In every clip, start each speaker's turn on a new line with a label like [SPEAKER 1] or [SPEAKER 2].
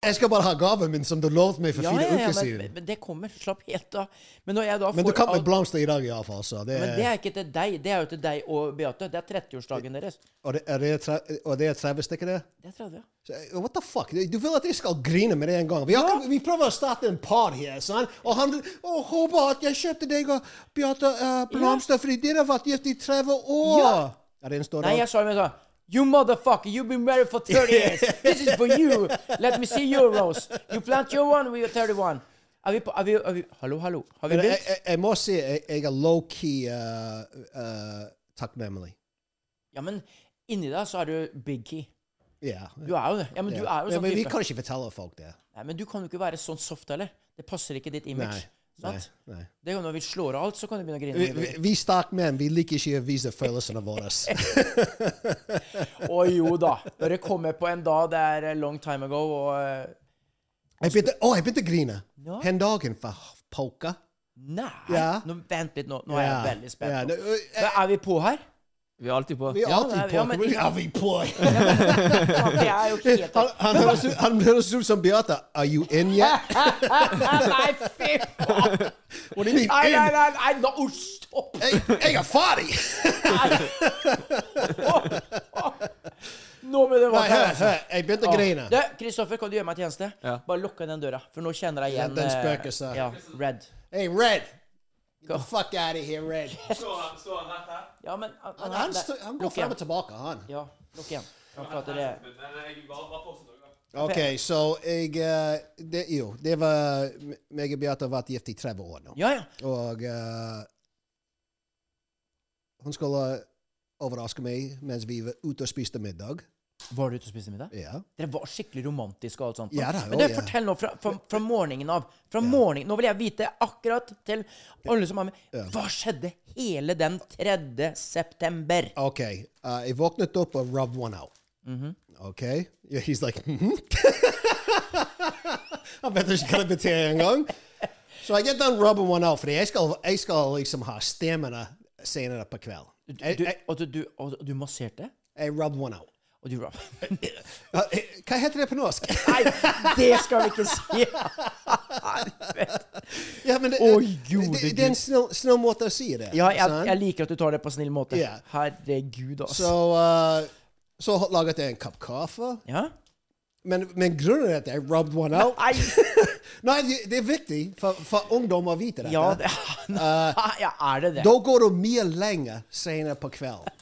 [SPEAKER 1] Jeg skal bare ha gaven min som du lovte meg for
[SPEAKER 2] Ja,
[SPEAKER 1] fire
[SPEAKER 2] ja, ja,
[SPEAKER 1] uker
[SPEAKER 2] men,
[SPEAKER 1] siden.
[SPEAKER 2] men det kommer. Slapp helt av. Men når jeg da får
[SPEAKER 1] Men du kan med
[SPEAKER 2] alt-
[SPEAKER 1] blomster i dag, iallfall. Så det,
[SPEAKER 2] Men det er ikke til deg. Det er jo til deg og Beate. Det er 30-årsdagen deres.
[SPEAKER 1] og, det, er det tre- og det er 30 stykker, det?
[SPEAKER 2] Det er 30.
[SPEAKER 1] Så, eh, What the fuck? Du vil at jeg skal grine med det en gang? Vi, har, ikke- vi prøver å starte en par her, sant? Og han oh, og Håvard, jeg kjøpte deg og Beate eh, blomster fordi dere har vært gift i 30 år!
[SPEAKER 2] Ja.
[SPEAKER 1] Er det en stor
[SPEAKER 2] Nei,
[SPEAKER 1] dag?
[SPEAKER 2] jeg sa jo sånn You motherfucker, you've been married for 30 years. This is for you. Let me see your rose. You plant your one when you're 31. Er vi på er vi, er vi, Hallo, hallo. Har vi
[SPEAKER 1] Men jeg,
[SPEAKER 2] begynt?
[SPEAKER 1] jeg, jeg må si jeg, jeg er low-key eh, eh, takknemlig. eh.
[SPEAKER 2] Ja, men inni deg så er du big key.
[SPEAKER 1] Ja.
[SPEAKER 2] Du er jo det. Ja, men du er jo
[SPEAKER 1] Ja,
[SPEAKER 2] sånn
[SPEAKER 1] men vi
[SPEAKER 2] type.
[SPEAKER 1] kan ikke fortelle folk det.
[SPEAKER 2] Nei, men du kan jo ikke være sånn soft heller. Det passer ikke ditt image.
[SPEAKER 1] Nei, nei,
[SPEAKER 2] Sant?
[SPEAKER 1] nei.
[SPEAKER 2] Det er jo når vi slår av alt, så kan du begynne å
[SPEAKER 1] Vi,
[SPEAKER 2] grine.
[SPEAKER 1] vi, vi stakk menn, vi liker ikke å vise følelsene våre.
[SPEAKER 2] Å jo da. Dere kommer på en dag det er eh, long time ago, og eh,
[SPEAKER 1] Jeg begynte, å, jeg begynte å grine.
[SPEAKER 2] Ja.
[SPEAKER 1] Hen dagen for poker.
[SPEAKER 2] Nei!
[SPEAKER 1] Ja.
[SPEAKER 2] Nå, vent litt, nå, nå er jeg
[SPEAKER 1] Ja.
[SPEAKER 2] veldig spent.
[SPEAKER 1] Ja,
[SPEAKER 2] nå.
[SPEAKER 1] det-
[SPEAKER 2] Men er vi på her? Vi er alltid på.
[SPEAKER 1] Vi er alltid på.
[SPEAKER 2] Ja, men,
[SPEAKER 1] Vi
[SPEAKER 2] ja,
[SPEAKER 1] er vi på.
[SPEAKER 2] men, det er jo helt
[SPEAKER 1] Han- Han høres ut- han høres ut som Beate. Are you in yet?
[SPEAKER 2] Nei, fy faen!
[SPEAKER 1] What do you mean
[SPEAKER 2] Nei, nei,
[SPEAKER 1] in?
[SPEAKER 2] nei, nei, nå oh, stopp!
[SPEAKER 1] Jeg, jeg er ferdig!
[SPEAKER 2] Nå ble det
[SPEAKER 1] Nei, hør,
[SPEAKER 2] varmt her.
[SPEAKER 1] hør. Jeg begynte å grine.
[SPEAKER 2] altså. Du, Kristoffer, kan du gjøre meg en tjeneste? Bare lukk igjen den døra, for nå kjenner jeg
[SPEAKER 1] Ja,
[SPEAKER 2] igjen
[SPEAKER 1] den
[SPEAKER 2] eh,
[SPEAKER 1] spøker seg.
[SPEAKER 2] Ja, red.
[SPEAKER 1] Hey, Red! Get the fuck out of here, Red.
[SPEAKER 2] Ja, men han,
[SPEAKER 1] Han, han, stå- han går
[SPEAKER 2] Lukk
[SPEAKER 1] frem
[SPEAKER 2] igjen.
[SPEAKER 1] og tilbake, han.
[SPEAKER 2] Ja, lukk igjen. Han prater eh, det.
[SPEAKER 1] OK, så jeg eh, det, Jo, det var meg og Beate har vært gift i 30 år nå.
[SPEAKER 2] Ja, ja.
[SPEAKER 1] Og eh, hun skulle overraske meg mens vi var ute og spiste middag.
[SPEAKER 2] Var du ute og spiste middag?
[SPEAKER 1] Ja.
[SPEAKER 2] Dere var skikkelig romantiske og alt sånt.
[SPEAKER 1] Ja da,
[SPEAKER 2] Men du,
[SPEAKER 1] å, ja.
[SPEAKER 2] fortell nå fra, fra, fra morgenen av. Fra morgenen, Nå vil jeg vite akkurat til alle som er med. Hva skjedde hele den 3. september?
[SPEAKER 1] OK. eh, jeg våknet opp og rubbed one out.
[SPEAKER 2] Mm-hmm.
[SPEAKER 1] OK? Yeah, he's like mhm. Han vet ikke hva det betyr engang. Så jeg er done rubbing one out, fordi jeg skal, jeg skal liksom ha stemmene senere på kveld.
[SPEAKER 2] Du,
[SPEAKER 1] Jeg,
[SPEAKER 2] du,
[SPEAKER 1] jeg,
[SPEAKER 2] og du, du, og du masserte?
[SPEAKER 1] jeg rubbed one out.
[SPEAKER 2] Og du
[SPEAKER 1] Eh, eh, Hva heter det på norsk?
[SPEAKER 2] Nei, det skal vi ikke si! Helvete.
[SPEAKER 1] ja, men det,
[SPEAKER 2] Oi, gode
[SPEAKER 1] det, det
[SPEAKER 2] Gud.
[SPEAKER 1] er en snill, snill måte å si det.
[SPEAKER 2] Ja, jeg,
[SPEAKER 1] sant?
[SPEAKER 2] jeg liker at du tar det på en snill måte.
[SPEAKER 1] Ja.
[SPEAKER 2] Herregud, altså.
[SPEAKER 1] Så, eh, så laget jeg en kopp kaffe.
[SPEAKER 2] Ja?
[SPEAKER 1] Men, men grunnen er at jeg rubbed one out.
[SPEAKER 2] Nei!
[SPEAKER 1] Nei, det, det er viktig for, for ungdom å vite dette.
[SPEAKER 2] Ja, det, nei, ja, er det det?
[SPEAKER 1] Eh, Da går du mye lenger senere på kvelden.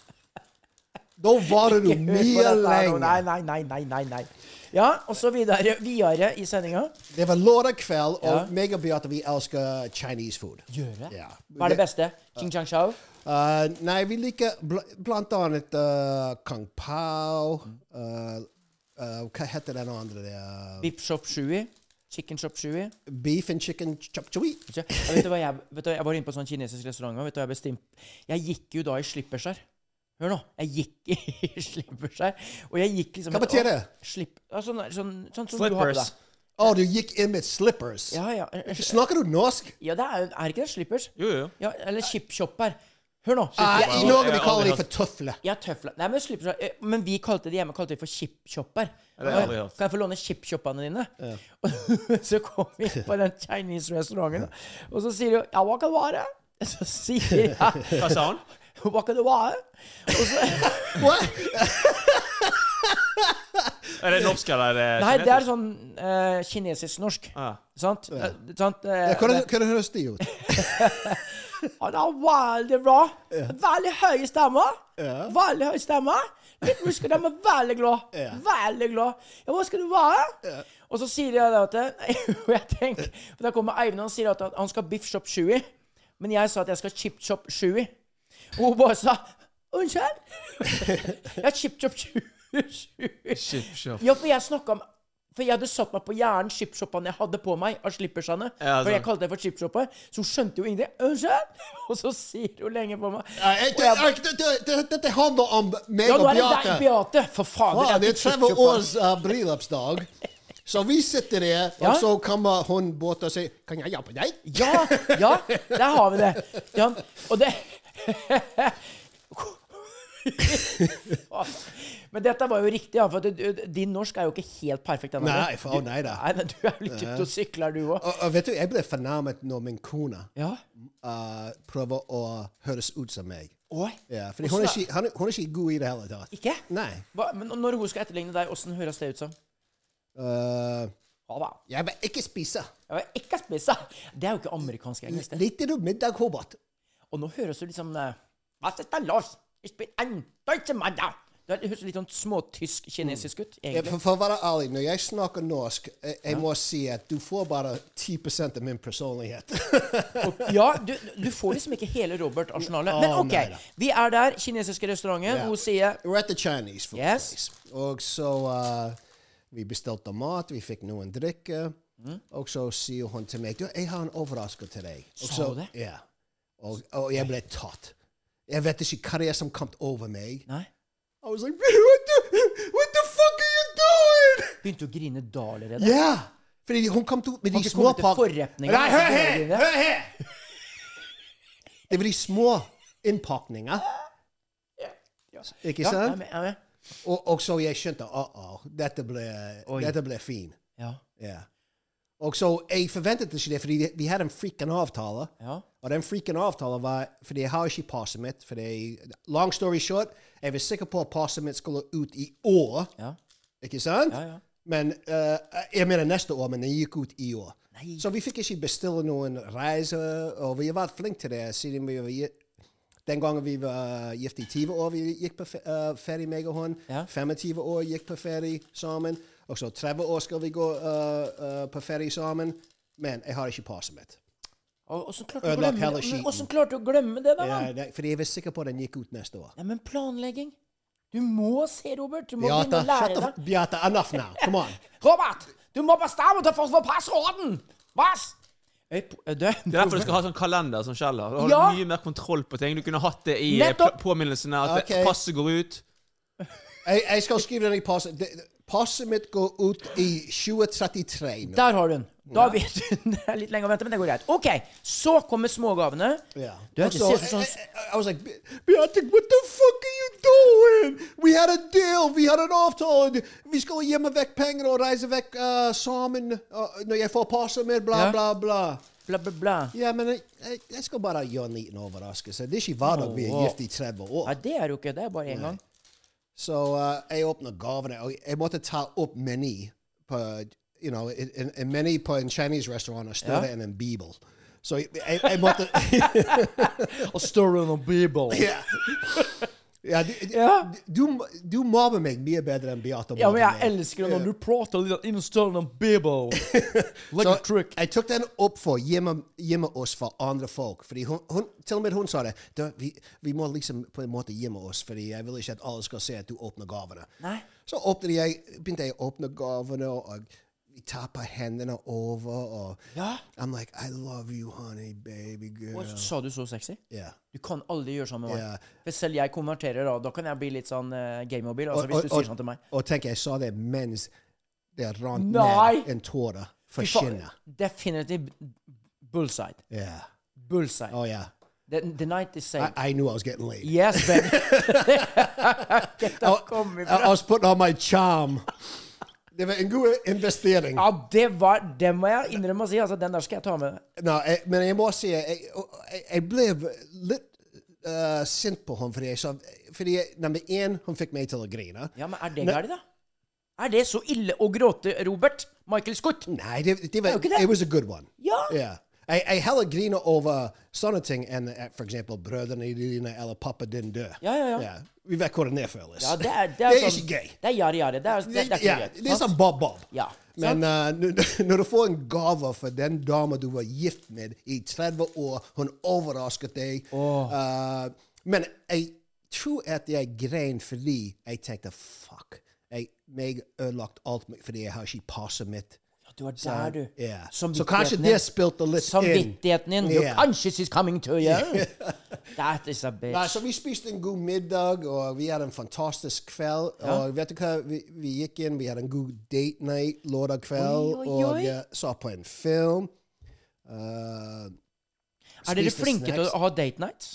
[SPEAKER 1] Da varer du
[SPEAKER 2] Ikke hør på
[SPEAKER 1] mye
[SPEAKER 2] dette her nå. Nei,
[SPEAKER 1] lenger.
[SPEAKER 2] nei, nei, nei, nei, nei. Ja, og så videre, videre i sendinga.
[SPEAKER 1] Det var lørdag kveld, og
[SPEAKER 2] Ja.
[SPEAKER 1] meg og Beate vi elsker Chinese food.
[SPEAKER 2] Gjøre?
[SPEAKER 1] Ja.
[SPEAKER 2] Hva er det beste? Ching chang chao?
[SPEAKER 1] Eh, nei, vi liker bl blant annet eh, Kang Pao eh, eh, Hva heter den andre? der?
[SPEAKER 2] Bip shop shui? Chicken shop shui?
[SPEAKER 1] beef and chicken chop chui?
[SPEAKER 2] Ja, vet du hva jeg, vet du, hva- jeg var inne på en sånn kinesisk restaurant. og Vet du, hva jeg, bestim- jeg gikk jo da i slippersær. Hør nå. Jeg gikk i slippers her. Og jeg gikk liksom
[SPEAKER 1] Hva betyr det?
[SPEAKER 2] Å, Slipp, ja, sånn, sånn, sånn som du har på
[SPEAKER 3] Slippers.
[SPEAKER 2] deg.
[SPEAKER 1] Å, du gikk inn med slippers.
[SPEAKER 2] Ja, ja. en- en-
[SPEAKER 1] Snakker du norsk?
[SPEAKER 2] ja det er, er ikke det slippers?
[SPEAKER 3] Jo, jo.
[SPEAKER 2] Ja, eller chipshopper. Hør nå.
[SPEAKER 1] Nei,
[SPEAKER 2] Chipshopper.
[SPEAKER 1] I
[SPEAKER 3] jeg-
[SPEAKER 1] Norge
[SPEAKER 3] jeg
[SPEAKER 1] vi
[SPEAKER 3] har
[SPEAKER 1] kaller
[SPEAKER 3] aldri
[SPEAKER 1] de for tøfler.
[SPEAKER 2] Ja, tøfler. Nei, men slippers eh, Men vi kalte det hjemme kalte det for chipshopper.
[SPEAKER 3] det har jeg aldri hørt.
[SPEAKER 2] Kan jeg få låne chipshoppene dine? Og så kom vi inn på den Chinese-restauranten, og så sier hun Ja, hva kan det være? Så sier jeg
[SPEAKER 3] Hva sa han?
[SPEAKER 2] Hva kan det være? Og så
[SPEAKER 1] What?
[SPEAKER 3] Er det norsk eller er det
[SPEAKER 2] Nei, det er
[SPEAKER 3] kinesisk?
[SPEAKER 2] sånn eh, kinesisk-norsk.
[SPEAKER 3] Ah.
[SPEAKER 2] Sant? Eh, sant? eh,
[SPEAKER 1] Hvordan hvordan høres de ut?
[SPEAKER 2] Han har veldig bra. Veldig høy stemme. Veldig høy stemme. Litt muskler, men veldig glad. Veldig glad. Ja, hva skal du være? Og så sier jeg det at Og jeg tenker for Da kommer Eivind og sier at han- han skal biff shop 20. Men jeg sa at jeg skal chip chop 20. Og hun bare sa Unnskyld? ja, chip chop 20.
[SPEAKER 3] Chip shop.
[SPEAKER 2] Ja, for jeg snakka om For jeg hadde satt meg på hjernen chipshoppene jeg hadde på meg, av slippersene.
[SPEAKER 3] Ja,
[SPEAKER 2] for jeg
[SPEAKER 3] sant.
[SPEAKER 2] kalte det for chipshopper. Så hun skjønte jo ingenting. Unnskyld! Og så sier hun lenge på meg.
[SPEAKER 1] Nei, jeg- jeg- jeg- det- det- det- Dette handler om meg
[SPEAKER 2] Ja, nå
[SPEAKER 1] og
[SPEAKER 2] er det deg,
[SPEAKER 1] Bjarte.
[SPEAKER 2] Beate! For faen.
[SPEAKER 1] Ja, det er
[SPEAKER 2] ikke
[SPEAKER 1] 30
[SPEAKER 2] chipshopper.
[SPEAKER 1] års uh, bryllupsdag. Så vi sitter der,
[SPEAKER 2] Ja.
[SPEAKER 1] og så kommer hun bort og sier 'Kan jeg hjelpe deg?'
[SPEAKER 2] Ja, ja, der har vi det. Ja, og det Men dette var jo riktig, ja, for at du- din norsk er jo ikke helt perfekt. ennå.
[SPEAKER 1] Nei, for- å, nei da.
[SPEAKER 2] Du- men Du er jo litt ute og sykler, du òg.
[SPEAKER 1] Og, og vet du, jeg ble fornærmet når min kone
[SPEAKER 2] Ja.
[SPEAKER 1] uh, prøver å høres ut som meg.
[SPEAKER 2] Oi.
[SPEAKER 1] Ja, fordi hun er, ikke, han er- hun er ikke god i det hele tatt.
[SPEAKER 2] Ikke?
[SPEAKER 1] Nei.
[SPEAKER 2] Hva, men når hun skal etterligne deg, åssen høres det ut som?
[SPEAKER 1] Uh,
[SPEAKER 2] Ja da.
[SPEAKER 1] jeg vil ikke spise.
[SPEAKER 2] Jeg vil ikke spise! Det er jo ikke amerikansk engelsk. det.
[SPEAKER 1] Likte du middag, Hobart?
[SPEAKER 2] Og nå høres du liksom eh, Hva er dette, Lars? Jeg spiller en deutsche Mann, ja. Det høres litt sånn småtysk-kinesisk ut,
[SPEAKER 1] Eh,
[SPEAKER 2] egentlig.
[SPEAKER 1] For, for å være ærlig, når jeg snakker norsk, eh, jeg må si at du får bare 10 av min personlighet.
[SPEAKER 2] Ja, du, du får liksom ikke hele Robert-arsenalet.
[SPEAKER 1] Å,
[SPEAKER 2] Men OK,
[SPEAKER 1] nei da.
[SPEAKER 2] vi er der. Kinesiske restauranten.
[SPEAKER 1] Ja.
[SPEAKER 2] Hun sier
[SPEAKER 1] We're at the Chinese food
[SPEAKER 2] Yes.
[SPEAKER 1] place. Og så uh, vi bestilte mat, vi fikk noen drikke.
[SPEAKER 2] Mm.
[SPEAKER 1] Og så sier hun til meg du, 'Jeg har en overraskelse til deg'. Og
[SPEAKER 2] Sa
[SPEAKER 1] så,
[SPEAKER 2] hun det?
[SPEAKER 1] Ja. Og, og jeg ble tatt. Jeg vet ikke hva det er som kom over meg.
[SPEAKER 2] Nei.
[SPEAKER 1] I was like, what the, what the fuck are you doing?
[SPEAKER 2] Begynte å grine da allerede.
[SPEAKER 1] Ja! Fordi hun kom til med
[SPEAKER 2] Har
[SPEAKER 1] de
[SPEAKER 2] ikke
[SPEAKER 1] små
[SPEAKER 2] kommet til
[SPEAKER 1] pak-
[SPEAKER 2] forretningen,
[SPEAKER 1] Nei, hør
[SPEAKER 2] altså,
[SPEAKER 1] her!
[SPEAKER 2] dine.
[SPEAKER 1] Hør her! Det var de små innpakninger. Ikke
[SPEAKER 2] Ja, jeg er
[SPEAKER 1] sant?
[SPEAKER 2] med, jeg er med.
[SPEAKER 1] Og, og så jeg skjønte uh-oh, dette ble,
[SPEAKER 2] Oi.
[SPEAKER 1] dette ble fin.
[SPEAKER 2] Ja.
[SPEAKER 1] Ja. Og så jeg forventet ikke det, fordi vi hadde en frikken avtale.
[SPEAKER 2] Ja.
[SPEAKER 1] Og den frikken avtalen var fordi jeg har ikke passet mitt. Fordi, long story short, jeg var sikker på at passet mitt skulle ut i år.
[SPEAKER 2] Ja.
[SPEAKER 1] Ikke sant?
[SPEAKER 2] Ja, ja.
[SPEAKER 1] Men eh, jeg mener neste år, men den gikk ut i år. Så vi fikk ikke bestille noen reise, og vi har vært flinke til det siden vi var gi- den gangen vi var øh, gift i 20 år, vi gikk på fe- eh, ferie, meg og hun.
[SPEAKER 2] Ja.
[SPEAKER 1] 25 år gikk på ferie sammen. Og så 30 år skal vi gå eh, eh, på ferie sammen. Men jeg har ikke passet mitt.
[SPEAKER 2] Og- Åssen klarte, du å
[SPEAKER 1] Ødelagt
[SPEAKER 2] glemme
[SPEAKER 1] hele
[SPEAKER 2] det? Men
[SPEAKER 1] skiten.
[SPEAKER 2] åssen klarte du å glemme det, da?
[SPEAKER 1] Ja,
[SPEAKER 2] mann?
[SPEAKER 1] det- fordi jeg var sikker på at den gikk ut neste år.
[SPEAKER 2] Nei, men planlegging. Du må se, Robert. Du må begynne
[SPEAKER 1] Beata,
[SPEAKER 2] å
[SPEAKER 1] shut
[SPEAKER 2] lære
[SPEAKER 1] the
[SPEAKER 2] deg.
[SPEAKER 1] f- Beata, enough now. Come on.
[SPEAKER 2] Robert, du må bestemme deg for, for passorden! Was? eh, Det er
[SPEAKER 3] Det er derfor du skal ha sånn kalender som skjeller. Da har
[SPEAKER 2] Ja.
[SPEAKER 3] du mye mer kontroll på ting. Du kunne hatt det i eh,
[SPEAKER 2] Nettopp.
[SPEAKER 3] pl- påminnelsene at
[SPEAKER 1] Ok.
[SPEAKER 3] passet går ut.
[SPEAKER 1] Jeg, jeg skal skrive den i passet. Det- det- Passet mitt går ut i 2033 nå.
[SPEAKER 2] Der har du den. Da vet du Det er litt lenger å vente, men det går greit. OK, så kommer smågavene.
[SPEAKER 1] Yeah.
[SPEAKER 2] Du er ikke
[SPEAKER 1] Also,
[SPEAKER 2] ser sånn
[SPEAKER 1] I, I- I was like, "Be- Beate, what the fuck are you doing? We had a deal. We had an avtale. Vi skulle gjemme vekk penger og reise vekk uh, sammen uh, når jeg får passet mitt, bla,
[SPEAKER 2] Ja.
[SPEAKER 1] bla, bla.
[SPEAKER 2] bla, bla, bla.
[SPEAKER 1] Ja, men jeg, jeg, jeg skal bare gjøre en liten overraskelse. Det er ikke hver dag vi er
[SPEAKER 2] Åh.
[SPEAKER 1] gift i 30 år.
[SPEAKER 2] Nei, det er jo ikke det. er Bare én gang.
[SPEAKER 1] Så uh, jeg åpner gavene, og jeg måtte ta opp meny på you know, en- en, en meny på en Chinese restaurant er større enn en bibel. Så jeg, jeg, jeg måtte
[SPEAKER 2] Og story on Bibel.
[SPEAKER 1] Ja. Ja, du, du-
[SPEAKER 2] Ja.
[SPEAKER 1] Du, du mobber meg mye bedre enn Beate.
[SPEAKER 2] Ja, men
[SPEAKER 1] mobber
[SPEAKER 2] jeg
[SPEAKER 1] meg.
[SPEAKER 2] elsker det når du prater litt innen story on Bibel. Like
[SPEAKER 1] Så
[SPEAKER 2] a trick.
[SPEAKER 1] Jeg tok den opp for å gjemme, gjemme oss for andre folk. Fordi hun, hun, til og med hun sa det. Da, vi, vi må liksom på en måte gjemme oss, fordi jeg vil ikke at alle skal se at du åpner gavene.
[SPEAKER 2] Nei.
[SPEAKER 1] Så åpnet jeg, begynte jeg å åpne gavene, og vi tapper hendene over, og
[SPEAKER 2] Ja.
[SPEAKER 1] I'm like, I love you, honey, baby girl.
[SPEAKER 2] Og Sa du så sexy?
[SPEAKER 1] Ja.
[SPEAKER 2] Du kan aldri gjøre sånn med meg.
[SPEAKER 1] Ja.
[SPEAKER 2] For selv jeg konverterer, da. Da kan jeg bli litt sånn uh, gamemobil. Altså,
[SPEAKER 1] Og-
[SPEAKER 2] hvis du
[SPEAKER 1] og- og-
[SPEAKER 2] sier sånn til meg.
[SPEAKER 1] Og tenk, jeg sa det mens det rant
[SPEAKER 2] Nei!
[SPEAKER 1] ned en tåre fra
[SPEAKER 2] Fy faen,
[SPEAKER 1] kinnet.
[SPEAKER 2] Definitivt bullseye.
[SPEAKER 1] Yeah.
[SPEAKER 2] Bullseye.
[SPEAKER 1] Oh, yeah.
[SPEAKER 2] The, the night is saved.
[SPEAKER 1] I, I knew I was getting laid.
[SPEAKER 2] Yes, baby. Dette
[SPEAKER 1] I-
[SPEAKER 2] kommer
[SPEAKER 1] I, I
[SPEAKER 2] fra
[SPEAKER 1] was putting on my charm. Det var en god investering.
[SPEAKER 2] Ja, det var Det må jeg innrømme å si. Altså, den der skal jeg ta med.
[SPEAKER 1] Nå, jeg, men jeg må si jeg, jeg, jeg ble litt eh, sint på henne fordi jeg sa Fordi nummer én, hun fikk meg til å grine.
[SPEAKER 2] Ja, men er det galt, da? Er det så ille å gråte, Robert? Michael Scott?
[SPEAKER 1] Nei, det, det var
[SPEAKER 2] jo ikke det.
[SPEAKER 1] It was a good one.
[SPEAKER 2] Ja.
[SPEAKER 1] Ja. Jeg, jeg heller griner over sånne ting enn eh, for eksempel brødrene dine eller pappa din dør.
[SPEAKER 2] Ja, ja, ja.
[SPEAKER 1] Vi vet hvordan det føles.
[SPEAKER 2] Ja, det er, det er,
[SPEAKER 1] Det er
[SPEAKER 2] sånn-
[SPEAKER 1] ikke gøy.
[SPEAKER 2] Det er jari-jari. Det er, det, det er ikke
[SPEAKER 1] Ja,
[SPEAKER 2] greit.
[SPEAKER 1] det er
[SPEAKER 2] sant?
[SPEAKER 1] sånn bob-bob.
[SPEAKER 2] Ja,
[SPEAKER 1] Men eh, n- når du får en gave fra den dama du var gift med i 30 år, hun overrasket deg Eh, Men jeg tror at jeg grein fordi jeg tenkte fuck. Jeg meg ødelagt alt med- fordi jeg har ikke passet mitt.
[SPEAKER 2] Du er der, du.
[SPEAKER 1] sånn- Ja. Så
[SPEAKER 2] Samvittigheten
[SPEAKER 1] kanskje
[SPEAKER 2] din.
[SPEAKER 1] det spilte litt
[SPEAKER 2] Samvittigheten din.
[SPEAKER 1] inn.
[SPEAKER 2] Your
[SPEAKER 1] Ja.
[SPEAKER 2] conscience is coming to you. That is a bitch.
[SPEAKER 1] Nei, så vi spiste en god middag, og vi hadde en fantastisk kveld. Og vet du hva, vi, vi gikk inn, vi hadde en god date night lørdag kveld,
[SPEAKER 2] Oi, oi,
[SPEAKER 1] og
[SPEAKER 2] oi.
[SPEAKER 1] eh, så på en film. Eh,
[SPEAKER 2] er dere
[SPEAKER 1] spiste
[SPEAKER 2] flinke til
[SPEAKER 1] snacks.
[SPEAKER 2] å ha date nights?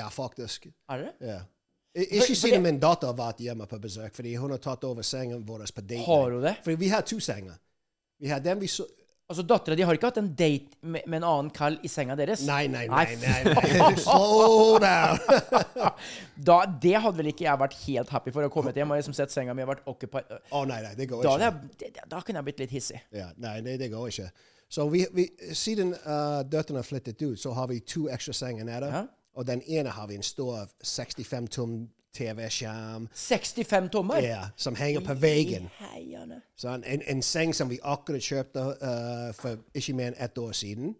[SPEAKER 1] Ja, faktisk.
[SPEAKER 2] Er dere?
[SPEAKER 1] Ja. I- Ikke
[SPEAKER 2] for
[SPEAKER 1] siden
[SPEAKER 2] det-
[SPEAKER 1] min datter har vært hjemme på besøk, fordi hun har tatt over sengen vår på date night.
[SPEAKER 2] Har hun det?
[SPEAKER 1] Fordi vi har to senger. Vi har den vi så...
[SPEAKER 2] Altså, Dattera di har ikke hatt en date med, med en annen kall i senga deres?
[SPEAKER 1] Nei, nei, nei, nei,
[SPEAKER 2] f-
[SPEAKER 1] nei. Slow down!
[SPEAKER 2] Da, det hadde vel ikke jeg vært helt happy for å komme hjem og liksom sett senga mi og vært occupied.
[SPEAKER 1] Å nei, nei, det går
[SPEAKER 2] Da,
[SPEAKER 1] ikke.
[SPEAKER 2] hadde jeg, det- det- da kunne jeg blitt litt hissig.
[SPEAKER 1] Ja, nei, det, det går ikke. Så vi, vi, siden uh, døtrene flyttet ut, så har vi to ekstra senger nede.
[SPEAKER 2] Ja.
[SPEAKER 1] Og den ene har vi en stor 65-tom TV-skjerm
[SPEAKER 2] 65 tommer?
[SPEAKER 1] ja, som henger på veggen.
[SPEAKER 2] Heierne.
[SPEAKER 1] Sånn, en, en seng som vi akkurat kjøpte uh, for ikke mer enn ett år siden.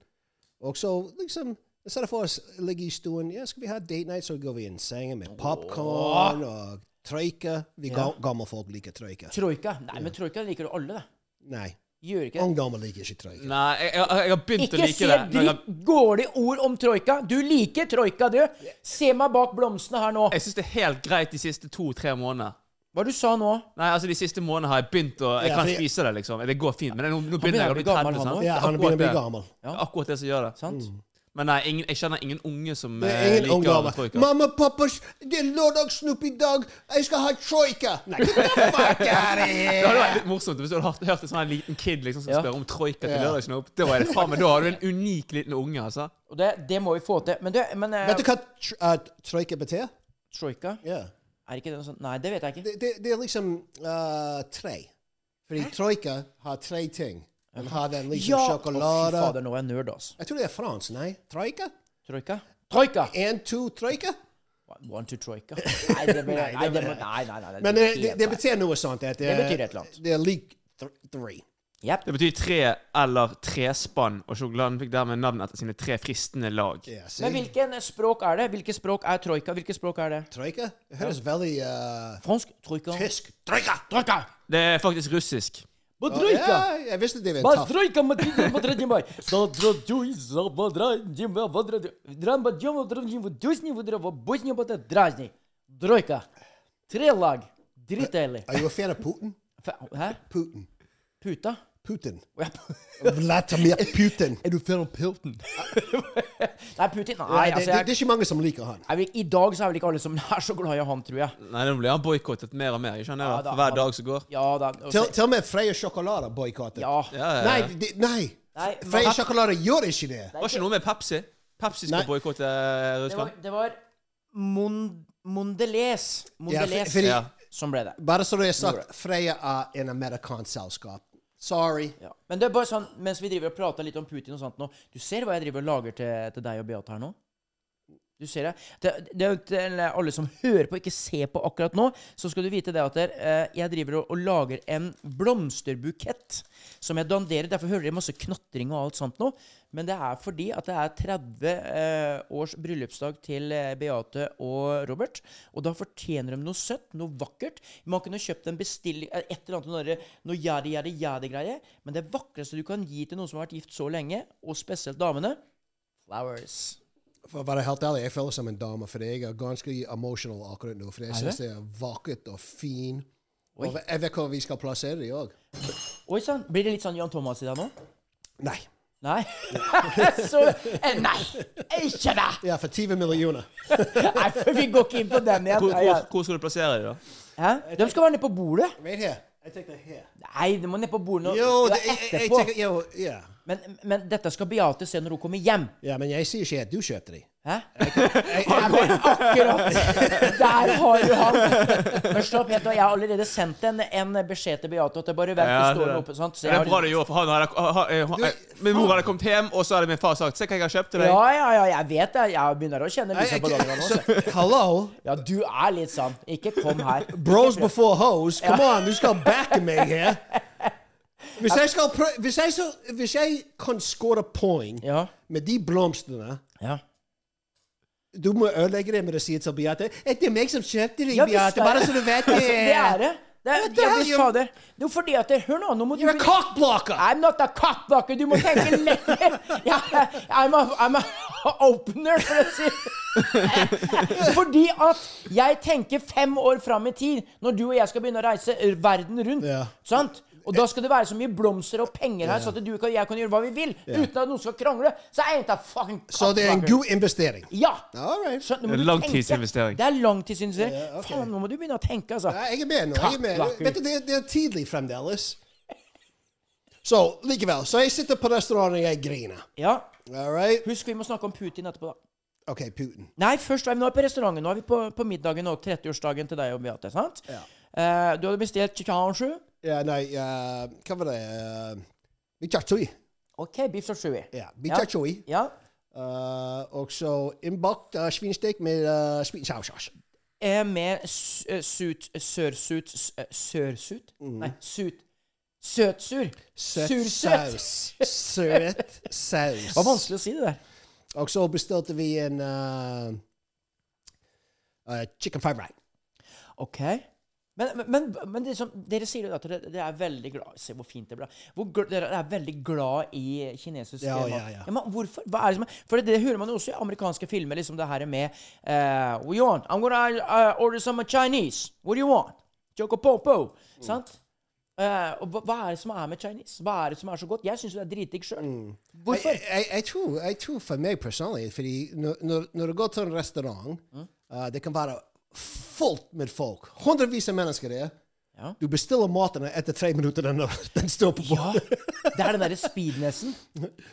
[SPEAKER 1] Og så liksom i stedet for å s- ligge i stuen, ja, skal vi ha date night, så går vi i en seng med popkorn og trøyke. Vi ga, gamle folk liker trøyke.
[SPEAKER 2] Troika? Nei, men troika liker jo alle, det.
[SPEAKER 1] Nei,
[SPEAKER 2] Gjør ikke det.
[SPEAKER 1] ungdommer liker ikke trøyke.
[SPEAKER 3] Nei, jeg, jeg, jeg har begynt å
[SPEAKER 2] Ikke
[SPEAKER 3] like
[SPEAKER 2] si
[SPEAKER 3] det. men jeg
[SPEAKER 2] dritt dårlige ord om troika! Du liker troika, du! Se meg bak blomstene her nå.
[SPEAKER 3] har- jeg syns det er helt greit de siste to-tre månedene.
[SPEAKER 2] Hva du sa nå?
[SPEAKER 3] Nei, altså De siste månedene har jeg begynt å Jeg
[SPEAKER 1] Ja,
[SPEAKER 3] kan
[SPEAKER 1] fordi-
[SPEAKER 3] spise det, liksom. Det går fint. Men nå, nå begynner jeg å bli 30.
[SPEAKER 2] gammel, han
[SPEAKER 3] sant?
[SPEAKER 2] også.
[SPEAKER 1] Ja, han
[SPEAKER 3] Akkurat
[SPEAKER 1] begynner å bli
[SPEAKER 3] det.
[SPEAKER 1] gammel.
[SPEAKER 3] Det er Akkurat det som gjør det.
[SPEAKER 2] Sant?
[SPEAKER 1] Mm.
[SPEAKER 3] Men nei, ingen, jeg kjenner ingen unge som
[SPEAKER 1] Det
[SPEAKER 3] eh,
[SPEAKER 1] er ingen
[SPEAKER 3] liker
[SPEAKER 1] ungdommer.
[SPEAKER 3] troika.
[SPEAKER 1] Mamma, pappa, det er lørdagssnupp i dag. Jeg skal ha troika. Nei, get the fuck out of
[SPEAKER 3] Det hadde
[SPEAKER 1] here.
[SPEAKER 3] vært litt morsomt hvis du hadde hørt- hørt en sånn her liten kid liksom, som
[SPEAKER 2] Ja.
[SPEAKER 3] spør om troika til
[SPEAKER 1] Ja.
[SPEAKER 3] lørdagssnop. Da er det faen meg, da har du en unik liten unge, altså.
[SPEAKER 2] Og det, det må vi få til. Men du, men eh,
[SPEAKER 1] Vet du hva tr uh, troika betyr?
[SPEAKER 2] troika
[SPEAKER 1] Ja.
[SPEAKER 2] Er ikke det noe sånt? Nei, det vet jeg ikke.
[SPEAKER 1] Det, det, det er liksom uh, tre. Fordi troika har tre ting. Den har den liksom
[SPEAKER 2] Å, fy
[SPEAKER 1] sjokolade
[SPEAKER 2] fader, nå er jeg nerd, altså.
[SPEAKER 1] Jeg tror det er fransk, nei? Troika?
[SPEAKER 2] Troika? Troika!
[SPEAKER 1] En, to, troika?
[SPEAKER 2] One to troika. Nei, det blir, nei, det blir, nei, nei, nei,
[SPEAKER 1] Men eh, det, det,
[SPEAKER 2] helt
[SPEAKER 1] det
[SPEAKER 2] feil.
[SPEAKER 1] betyr noe sånt. At det,
[SPEAKER 2] Det betyr et eller annet.
[SPEAKER 1] Det er lik th three.
[SPEAKER 2] Jepp.
[SPEAKER 3] Det betyr tre eller trespann, og sjokoladen fikk dermed navn etter sine tre fristende lag.
[SPEAKER 1] Ja, see?
[SPEAKER 2] Men hvilken språk er det? Hvilke språk er troika? Hvilke språk er det?
[SPEAKER 1] Troika? Det høres veldig uh,
[SPEAKER 2] Fransk? Troika?
[SPEAKER 1] tysk Troika!
[SPEAKER 2] Troika!
[SPEAKER 3] Det er faktisk russisk.
[SPEAKER 2] Badroika!
[SPEAKER 1] Ja, jeg visste det var tøft.
[SPEAKER 2] Badroika, Matrika, Badradimai! Badradjuisa, Badradimai, Badradimai, Drambadjoma, Drambadjoma, Dusni, Vadrava, Bosnia, Bata, Drazni. Droika. Tre lag. Drittdeilig.
[SPEAKER 1] Er du en fan av Putin?
[SPEAKER 2] Fa- Hæ?
[SPEAKER 1] Putin.
[SPEAKER 2] Puta?
[SPEAKER 1] Putin.
[SPEAKER 2] Å, ja.
[SPEAKER 1] Vladimir Putin.
[SPEAKER 3] Er du fan av Pilton?
[SPEAKER 2] Nei, Putin Nei,
[SPEAKER 1] Nei, det,
[SPEAKER 2] altså
[SPEAKER 1] det, det er
[SPEAKER 2] jeg,
[SPEAKER 1] ikke mange som liker han.
[SPEAKER 2] jeg vil, I dag så er vel ikke alle som er så glad i han, tror jeg.
[SPEAKER 3] Nei, nå blir han boikottet mer og mer. Ikke sant? det
[SPEAKER 2] Ja,
[SPEAKER 3] da?
[SPEAKER 2] da,
[SPEAKER 3] For hver
[SPEAKER 2] han-
[SPEAKER 3] dag som går.
[SPEAKER 2] Ja da. og
[SPEAKER 1] Til,
[SPEAKER 2] så-
[SPEAKER 1] til og med Freya Sjokolade boikottet.
[SPEAKER 2] Altså- Ja.
[SPEAKER 3] Ja, ja,
[SPEAKER 1] Nei,
[SPEAKER 3] ja.
[SPEAKER 1] det, nei.
[SPEAKER 2] Nei,
[SPEAKER 1] Freya
[SPEAKER 2] men-
[SPEAKER 1] Sjokolade gjør ikke det.
[SPEAKER 3] Var ikke noe med Pepsi? Pepsi skal
[SPEAKER 1] Nei.
[SPEAKER 3] boikotte
[SPEAKER 2] Det var,
[SPEAKER 3] Russland.
[SPEAKER 2] det var Mon Mondelez,
[SPEAKER 1] Ja,
[SPEAKER 2] Mondelez
[SPEAKER 1] for- fordi-
[SPEAKER 3] Ja.
[SPEAKER 2] som ble det.
[SPEAKER 1] Bare så det er sagt, Freya er en amerikansk selskap. Sorry.
[SPEAKER 2] Ja. Men det er bare sånn, mens vi driver og prater litt om Putin og sånt nå Du ser hva jeg driver og lager til, til deg og Beate her nå? Du ser det. Det, det er jo til alle som hører på, ikke ser på akkurat nå, så skal du vite det at der, eh, jeg driver og, og lager en blomsterbukett som jeg danderer. Derfor hører dere masse knatring og alt sånt nå. Men det er fordi at det er 30 eh, års bryllupsdag til eh, Beate og Robert. Og da fortjener de noe søtt, noe vakkert. Man kunne kjøpt en bestilling eh, Et eller annet noe der- noe yadi, yadi, yadi-greie. Men det vakreste du kan gi til noen som har vært gift så lenge, og spesielt damene Flowers.
[SPEAKER 1] For å være helt ærlig, jeg føler som en dame, for jeg er ganske emotional akkurat nå. For jeg
[SPEAKER 2] det?
[SPEAKER 1] syns det er vakkert og fin.
[SPEAKER 2] Oi.
[SPEAKER 1] Og jeg vet hvor vi skal plassere det òg.
[SPEAKER 2] Oi sann. Blir det litt sånn Jan Thomas i deg nå?
[SPEAKER 1] Nei.
[SPEAKER 2] Nei. så, eh, nei, ikke det!
[SPEAKER 1] Ja, for 20 millioner.
[SPEAKER 2] Nei, for vi går ikke inn på den igjen.
[SPEAKER 3] Hvor,
[SPEAKER 2] Nei, ja.
[SPEAKER 3] hvor, hvor skal du plassere dem, da?
[SPEAKER 2] Hæ? De skal være nede på bordet.
[SPEAKER 1] Right here. Jeg tenker her.
[SPEAKER 2] Nei, de må ned på bordet nå.
[SPEAKER 1] Jo,
[SPEAKER 2] Det
[SPEAKER 1] det,
[SPEAKER 2] er
[SPEAKER 1] jeg, jeg, jeg
[SPEAKER 2] etterpå.
[SPEAKER 1] tenker, jo, ja.
[SPEAKER 2] Men, men dette skal Beate se når hun kommer hjem.
[SPEAKER 1] ja, men jeg sier ikke at du kjøpte de.
[SPEAKER 2] Hæ? Ja, men akkurat! Der har du han! Men slapp helt av, jeg har allerede sendt en, en beskjed til Beate. At det bare vent, det står
[SPEAKER 3] det,
[SPEAKER 2] noe oppe, sant? Så
[SPEAKER 3] det
[SPEAKER 2] jeg
[SPEAKER 3] er bra
[SPEAKER 2] har-
[SPEAKER 3] du gjorde, for han hadde, ha- ha- eh, han- eh, Min mor hadde kommet hjem, og så hadde min far sagt 'Se hva jeg har kjøpt til deg'.
[SPEAKER 2] Ja, ja, ja, jeg vet det. Jeg begynner å kjenne lyset på gangene også.
[SPEAKER 1] Så, Hallo?
[SPEAKER 2] Ja, du er litt sann. Ikke kom her.
[SPEAKER 1] Bros before hoes? Come on, du skal backe meg her. Hvis jeg, skal prø- hvis, jeg så, hvis jeg kan score poeng
[SPEAKER 2] Ja.
[SPEAKER 1] med de blomstene
[SPEAKER 2] ja.
[SPEAKER 1] Du må ødelegge det med å si til Beate at det er meg som kjøpte de,
[SPEAKER 2] Ja, visst
[SPEAKER 1] Beate.
[SPEAKER 2] er
[SPEAKER 1] Bare
[SPEAKER 2] det.
[SPEAKER 1] så du vet det.
[SPEAKER 2] Altså, det er det. Det er,
[SPEAKER 1] What the
[SPEAKER 2] ja,
[SPEAKER 1] hell,
[SPEAKER 2] visst
[SPEAKER 1] you-
[SPEAKER 2] fader. Det er jo fordi at det, Hør nå, nå må du
[SPEAKER 1] You're a cockblocker!
[SPEAKER 2] I'm not a cockblocker. Du må tenke lenger. Ja, I'm, a, I'm a opener, for å si Fordi at jeg tenker fem år fram i tid, når du og jeg skal begynne å reise verden rundt.
[SPEAKER 1] Ja.
[SPEAKER 2] Sant? Og da skal det være så mye blomster og penger her, så at du og jeg kan gjøre hva vi vil. Uten at noen skal krangle. Så jeg er ikke fucking
[SPEAKER 1] Så det er en
[SPEAKER 2] cockblocker.
[SPEAKER 1] god investering.
[SPEAKER 2] Ja.
[SPEAKER 1] All right.
[SPEAKER 2] Skjønner, nå må
[SPEAKER 3] Det er
[SPEAKER 2] du
[SPEAKER 3] langtidsinvestering.
[SPEAKER 2] tenke. Det er langtidsinvestering.
[SPEAKER 1] Ja, ok.
[SPEAKER 2] Faen, nå må du begynne å tenke, altså.
[SPEAKER 1] Ja, jeg er med nå. Jeg er med.
[SPEAKER 2] Cockblocker.
[SPEAKER 1] Vet du, det, er- det er tidlig fremdeles. Så likevel. Så jeg sitter på restauranten og jeg griner.
[SPEAKER 2] Ja.
[SPEAKER 1] All right?
[SPEAKER 2] Husk, vi må snakke om Putin etterpå, da.
[SPEAKER 1] OK, Putin.
[SPEAKER 2] Nei, først er vi nå på restauranten. Nå er vi på, på middagen og 30-årsdagen til deg og Beate. sant?
[SPEAKER 1] Ja.
[SPEAKER 2] Eh, du hadde bestilt chichanchu.
[SPEAKER 1] Ja, nei, eh, hva var det uh, Bichatui.
[SPEAKER 2] OK, beef chichanchu.
[SPEAKER 1] Ja, bichatui.
[SPEAKER 2] Ja.
[SPEAKER 1] Eh, og så innbakt uh, svinestek med uh, svinsausas.
[SPEAKER 2] Eh, med s- eh, sut Sørsut s- eh, Sørsut?
[SPEAKER 1] Mm.
[SPEAKER 2] Nei, sut Søtsur. Sursøt.
[SPEAKER 1] Søt saus.
[SPEAKER 2] Det var vanskelig å si det der.
[SPEAKER 1] Og så bestilte vi en eh, eh, chicken fried rice.
[SPEAKER 2] OK. Men, men, men, men det som, dere sier jo at dere, dere er veldig glad Se hvor fint det ble. Hvor, gl- dere er veldig glad i kinesisk
[SPEAKER 1] Ja,
[SPEAKER 2] mat.
[SPEAKER 1] ja, ja.
[SPEAKER 2] men hvorfor? Hva er det som er For det hører man jo også i amerikanske filmer, liksom det her med eh, We want, I'm gonna eh, order some Chinese. What do you want? Choco popo.
[SPEAKER 1] Mm.
[SPEAKER 2] Sant? Eh, og hva, hva er det som er med Chinese? Hva er det som er så godt? Jeg syns jo det er dritdigg sjøl.
[SPEAKER 1] Mm.
[SPEAKER 2] Hvorfor?
[SPEAKER 1] Jeg, jeg, jeg, tror, jeg tror for meg personlig, fordi når, når, når du går til en restaurant, eh, det kan være fullt med folk. Hundrevis av mennesker der.
[SPEAKER 2] Ja.
[SPEAKER 1] Du bestiller maten og etter tre minutter den, den står på
[SPEAKER 2] Ja,
[SPEAKER 1] bordet.
[SPEAKER 2] det er den derre speednessen.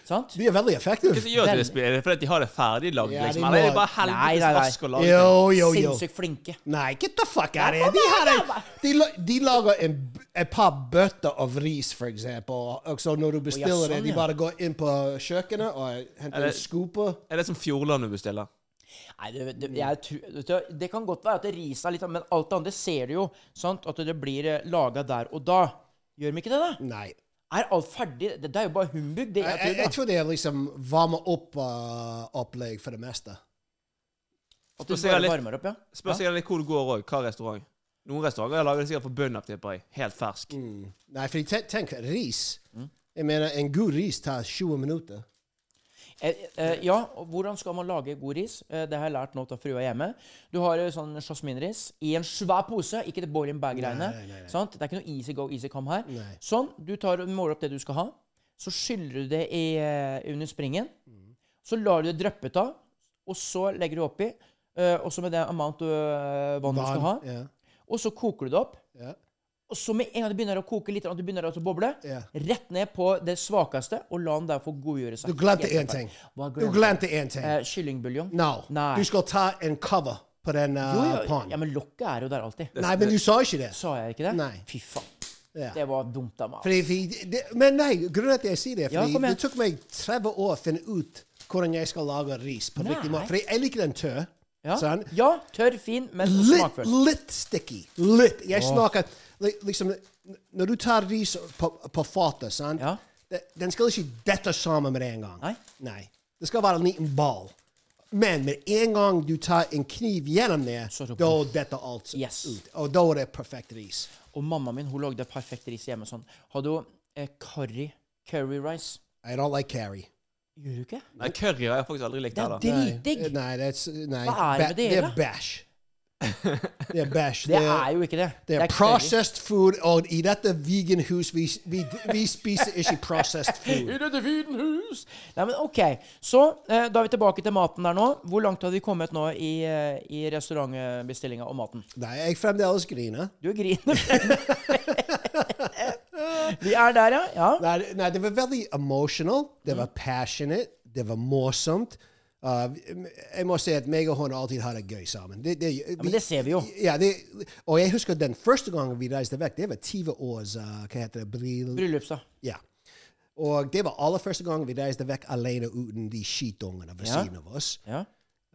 [SPEAKER 2] Sant?
[SPEAKER 1] De er veldig effektive.
[SPEAKER 3] Hva som gjør at de spiller? Er det fordi at de har det ferdiglagd?
[SPEAKER 1] Ja, de
[SPEAKER 3] Liksom?
[SPEAKER 1] må-
[SPEAKER 3] Eller er det bare
[SPEAKER 2] Nei, nei,
[SPEAKER 3] helvetes
[SPEAKER 2] nei.
[SPEAKER 3] rask å lage? ting?
[SPEAKER 1] Jo, jo, jo.
[SPEAKER 2] Sinnssykt flinke.
[SPEAKER 1] Nei, get the fuck out of here. De, har en, de, la- de lager en, b- et par bøtter av ris, for Uh, eksempel. Og så når du bestiller
[SPEAKER 2] sånn,
[SPEAKER 1] det, de
[SPEAKER 2] ja.
[SPEAKER 1] bare går inn på kjøkkenet og henter
[SPEAKER 3] Eller-
[SPEAKER 1] en scooper.
[SPEAKER 3] Er det som Fjordland du bestiller?
[SPEAKER 2] Nei, det, det,
[SPEAKER 1] Mm.
[SPEAKER 2] jeg tror, vet du, det kan godt være at det riset er litt Men alt det andre ser du jo. Sant? At det blir laga der og da. Gjør de ikke det, da?
[SPEAKER 1] Nei.
[SPEAKER 2] Er alt ferdig? Det, det er jo bare humbug. Det,
[SPEAKER 1] Mm. Jeg, jeg,
[SPEAKER 2] jeg tror,
[SPEAKER 1] jeg
[SPEAKER 2] da.
[SPEAKER 1] tror det er liksom varme opp-opplegg for det meste.
[SPEAKER 2] At det
[SPEAKER 3] Spørs
[SPEAKER 2] bare
[SPEAKER 3] jeg litt-
[SPEAKER 2] varmer opp, ja.
[SPEAKER 3] Spørs sikkert litt hvor du går òg. Hva restaurant. Noen restauranter lager det sikkert fra bunnen av, tipper jeg. Helt fersk.
[SPEAKER 2] Mm.
[SPEAKER 1] Nei, for tenk, tenk ris. Jeg mener, en god ris tar 20 minutter.
[SPEAKER 2] Eh, eh, ja, og hvordan skal man lage god ris? Eh, det har jeg lært nå av frua hjemme. Du har eh, sånn jasminris i en svær pose, ikke det boil in bag-greiene. sant? Det er ikke noe easy go, easy come her.
[SPEAKER 1] Nei.
[SPEAKER 2] Sånn, du tar og måler opp det du skal ha. Så skyller du det i, eh, under springen.
[SPEAKER 1] Mm.
[SPEAKER 2] Så lar du det dryppe av, og så legger du oppi. eh, også med det amount eh, vann du skal ha.
[SPEAKER 1] Ja.
[SPEAKER 2] Og så koker du det opp.
[SPEAKER 1] Ja.
[SPEAKER 2] Og så med en gang det begynner å koke litt, og det begynner å boble,
[SPEAKER 1] Ja.
[SPEAKER 2] rett ned på det svakeste, og la den der få godgjøre seg.
[SPEAKER 1] Du glemte
[SPEAKER 2] Helt
[SPEAKER 1] én ting.
[SPEAKER 2] Hva
[SPEAKER 1] Du glemte én ting.
[SPEAKER 2] Eh, kyllingbuljong?
[SPEAKER 1] No.
[SPEAKER 2] Nei.
[SPEAKER 1] Du skal ta en cover på den uh,
[SPEAKER 2] Jo, jo,
[SPEAKER 1] pannen.
[SPEAKER 2] ja, men lokket er jo der alltid.
[SPEAKER 1] Nei, men du sa ikke det.
[SPEAKER 2] Sa jeg ikke det?
[SPEAKER 1] Nei.
[SPEAKER 2] Fy faen.
[SPEAKER 1] Ja.
[SPEAKER 2] Det var dumt av meg.
[SPEAKER 1] Fordi, vi- det, men nei, grunnen til at jeg sier det,
[SPEAKER 2] Ja,
[SPEAKER 1] fordi
[SPEAKER 2] kom igjen.
[SPEAKER 1] det tok meg 30 år å finne ut hvordan jeg skal lage ris på riktig
[SPEAKER 2] Nei.
[SPEAKER 1] måte. For jeg liker den tørr.
[SPEAKER 2] Ja.
[SPEAKER 1] sant?
[SPEAKER 2] ja, tørr, fin, men
[SPEAKER 1] Litt,
[SPEAKER 2] smakfull.
[SPEAKER 1] litt sticky. Litt.
[SPEAKER 2] Oh.
[SPEAKER 1] Jeg snakker li- liksom Når du tar ris på, på fatet, sant?
[SPEAKER 2] Ja.
[SPEAKER 1] det- den skal ikke dette sammen med en gang.
[SPEAKER 2] Nei.
[SPEAKER 1] Det skal være en liten ball. Men med en gang du tar en kniv gjennom det,
[SPEAKER 2] Så er det
[SPEAKER 1] da detter alt
[SPEAKER 2] Yes.
[SPEAKER 1] ut. Og da er det perfekt ris.
[SPEAKER 2] Og mamma min hun lagde perfekt ris hjemme sånn. Hadde hun eh, curry, curry rice?
[SPEAKER 1] I don't like curry.
[SPEAKER 2] Gjør du ikke?
[SPEAKER 3] Nei, curry har jeg faktisk aldri likt
[SPEAKER 2] Det er
[SPEAKER 3] heller.
[SPEAKER 2] dritdigg!
[SPEAKER 1] Eh, Nei, det er, s- nei.
[SPEAKER 2] Hva
[SPEAKER 1] Ba-
[SPEAKER 2] er det med dere?
[SPEAKER 1] Det er bæsj. Det er bæsj.
[SPEAKER 2] Det er jo ikke det.
[SPEAKER 1] det er
[SPEAKER 2] curry.
[SPEAKER 1] processed food, Oh, og i dette vegan-hus vi, vi, vi spiser ikke processed
[SPEAKER 2] I
[SPEAKER 1] food.
[SPEAKER 2] dette fine hus! Nei, men OK. Så eh, da er vi tilbake til maten der nå. Hvor langt hadde vi kommet nå i, eh, i restaurantbestillinga og maten?
[SPEAKER 1] Nei, jeg fremdeles griner.
[SPEAKER 2] Du griner. vi er der, ja. ja.
[SPEAKER 1] Nei, nei, det var veldig emotional. Det var passionate. Det var morsomt. Uh, jeg må si at meg og hun alltid har det gøy sammen. Det, det,
[SPEAKER 2] men det ser vi jo.
[SPEAKER 1] Ja, det, og jeg husker den første gangen vi reiste vekk, det var 20 års uh, hva heter det, bryll-
[SPEAKER 2] Bryllups, da.
[SPEAKER 1] Ja. Og det var aller første gang vi reiste vekk alene uten de skitungene ved
[SPEAKER 2] Ja.
[SPEAKER 1] siden av oss.
[SPEAKER 2] Ja.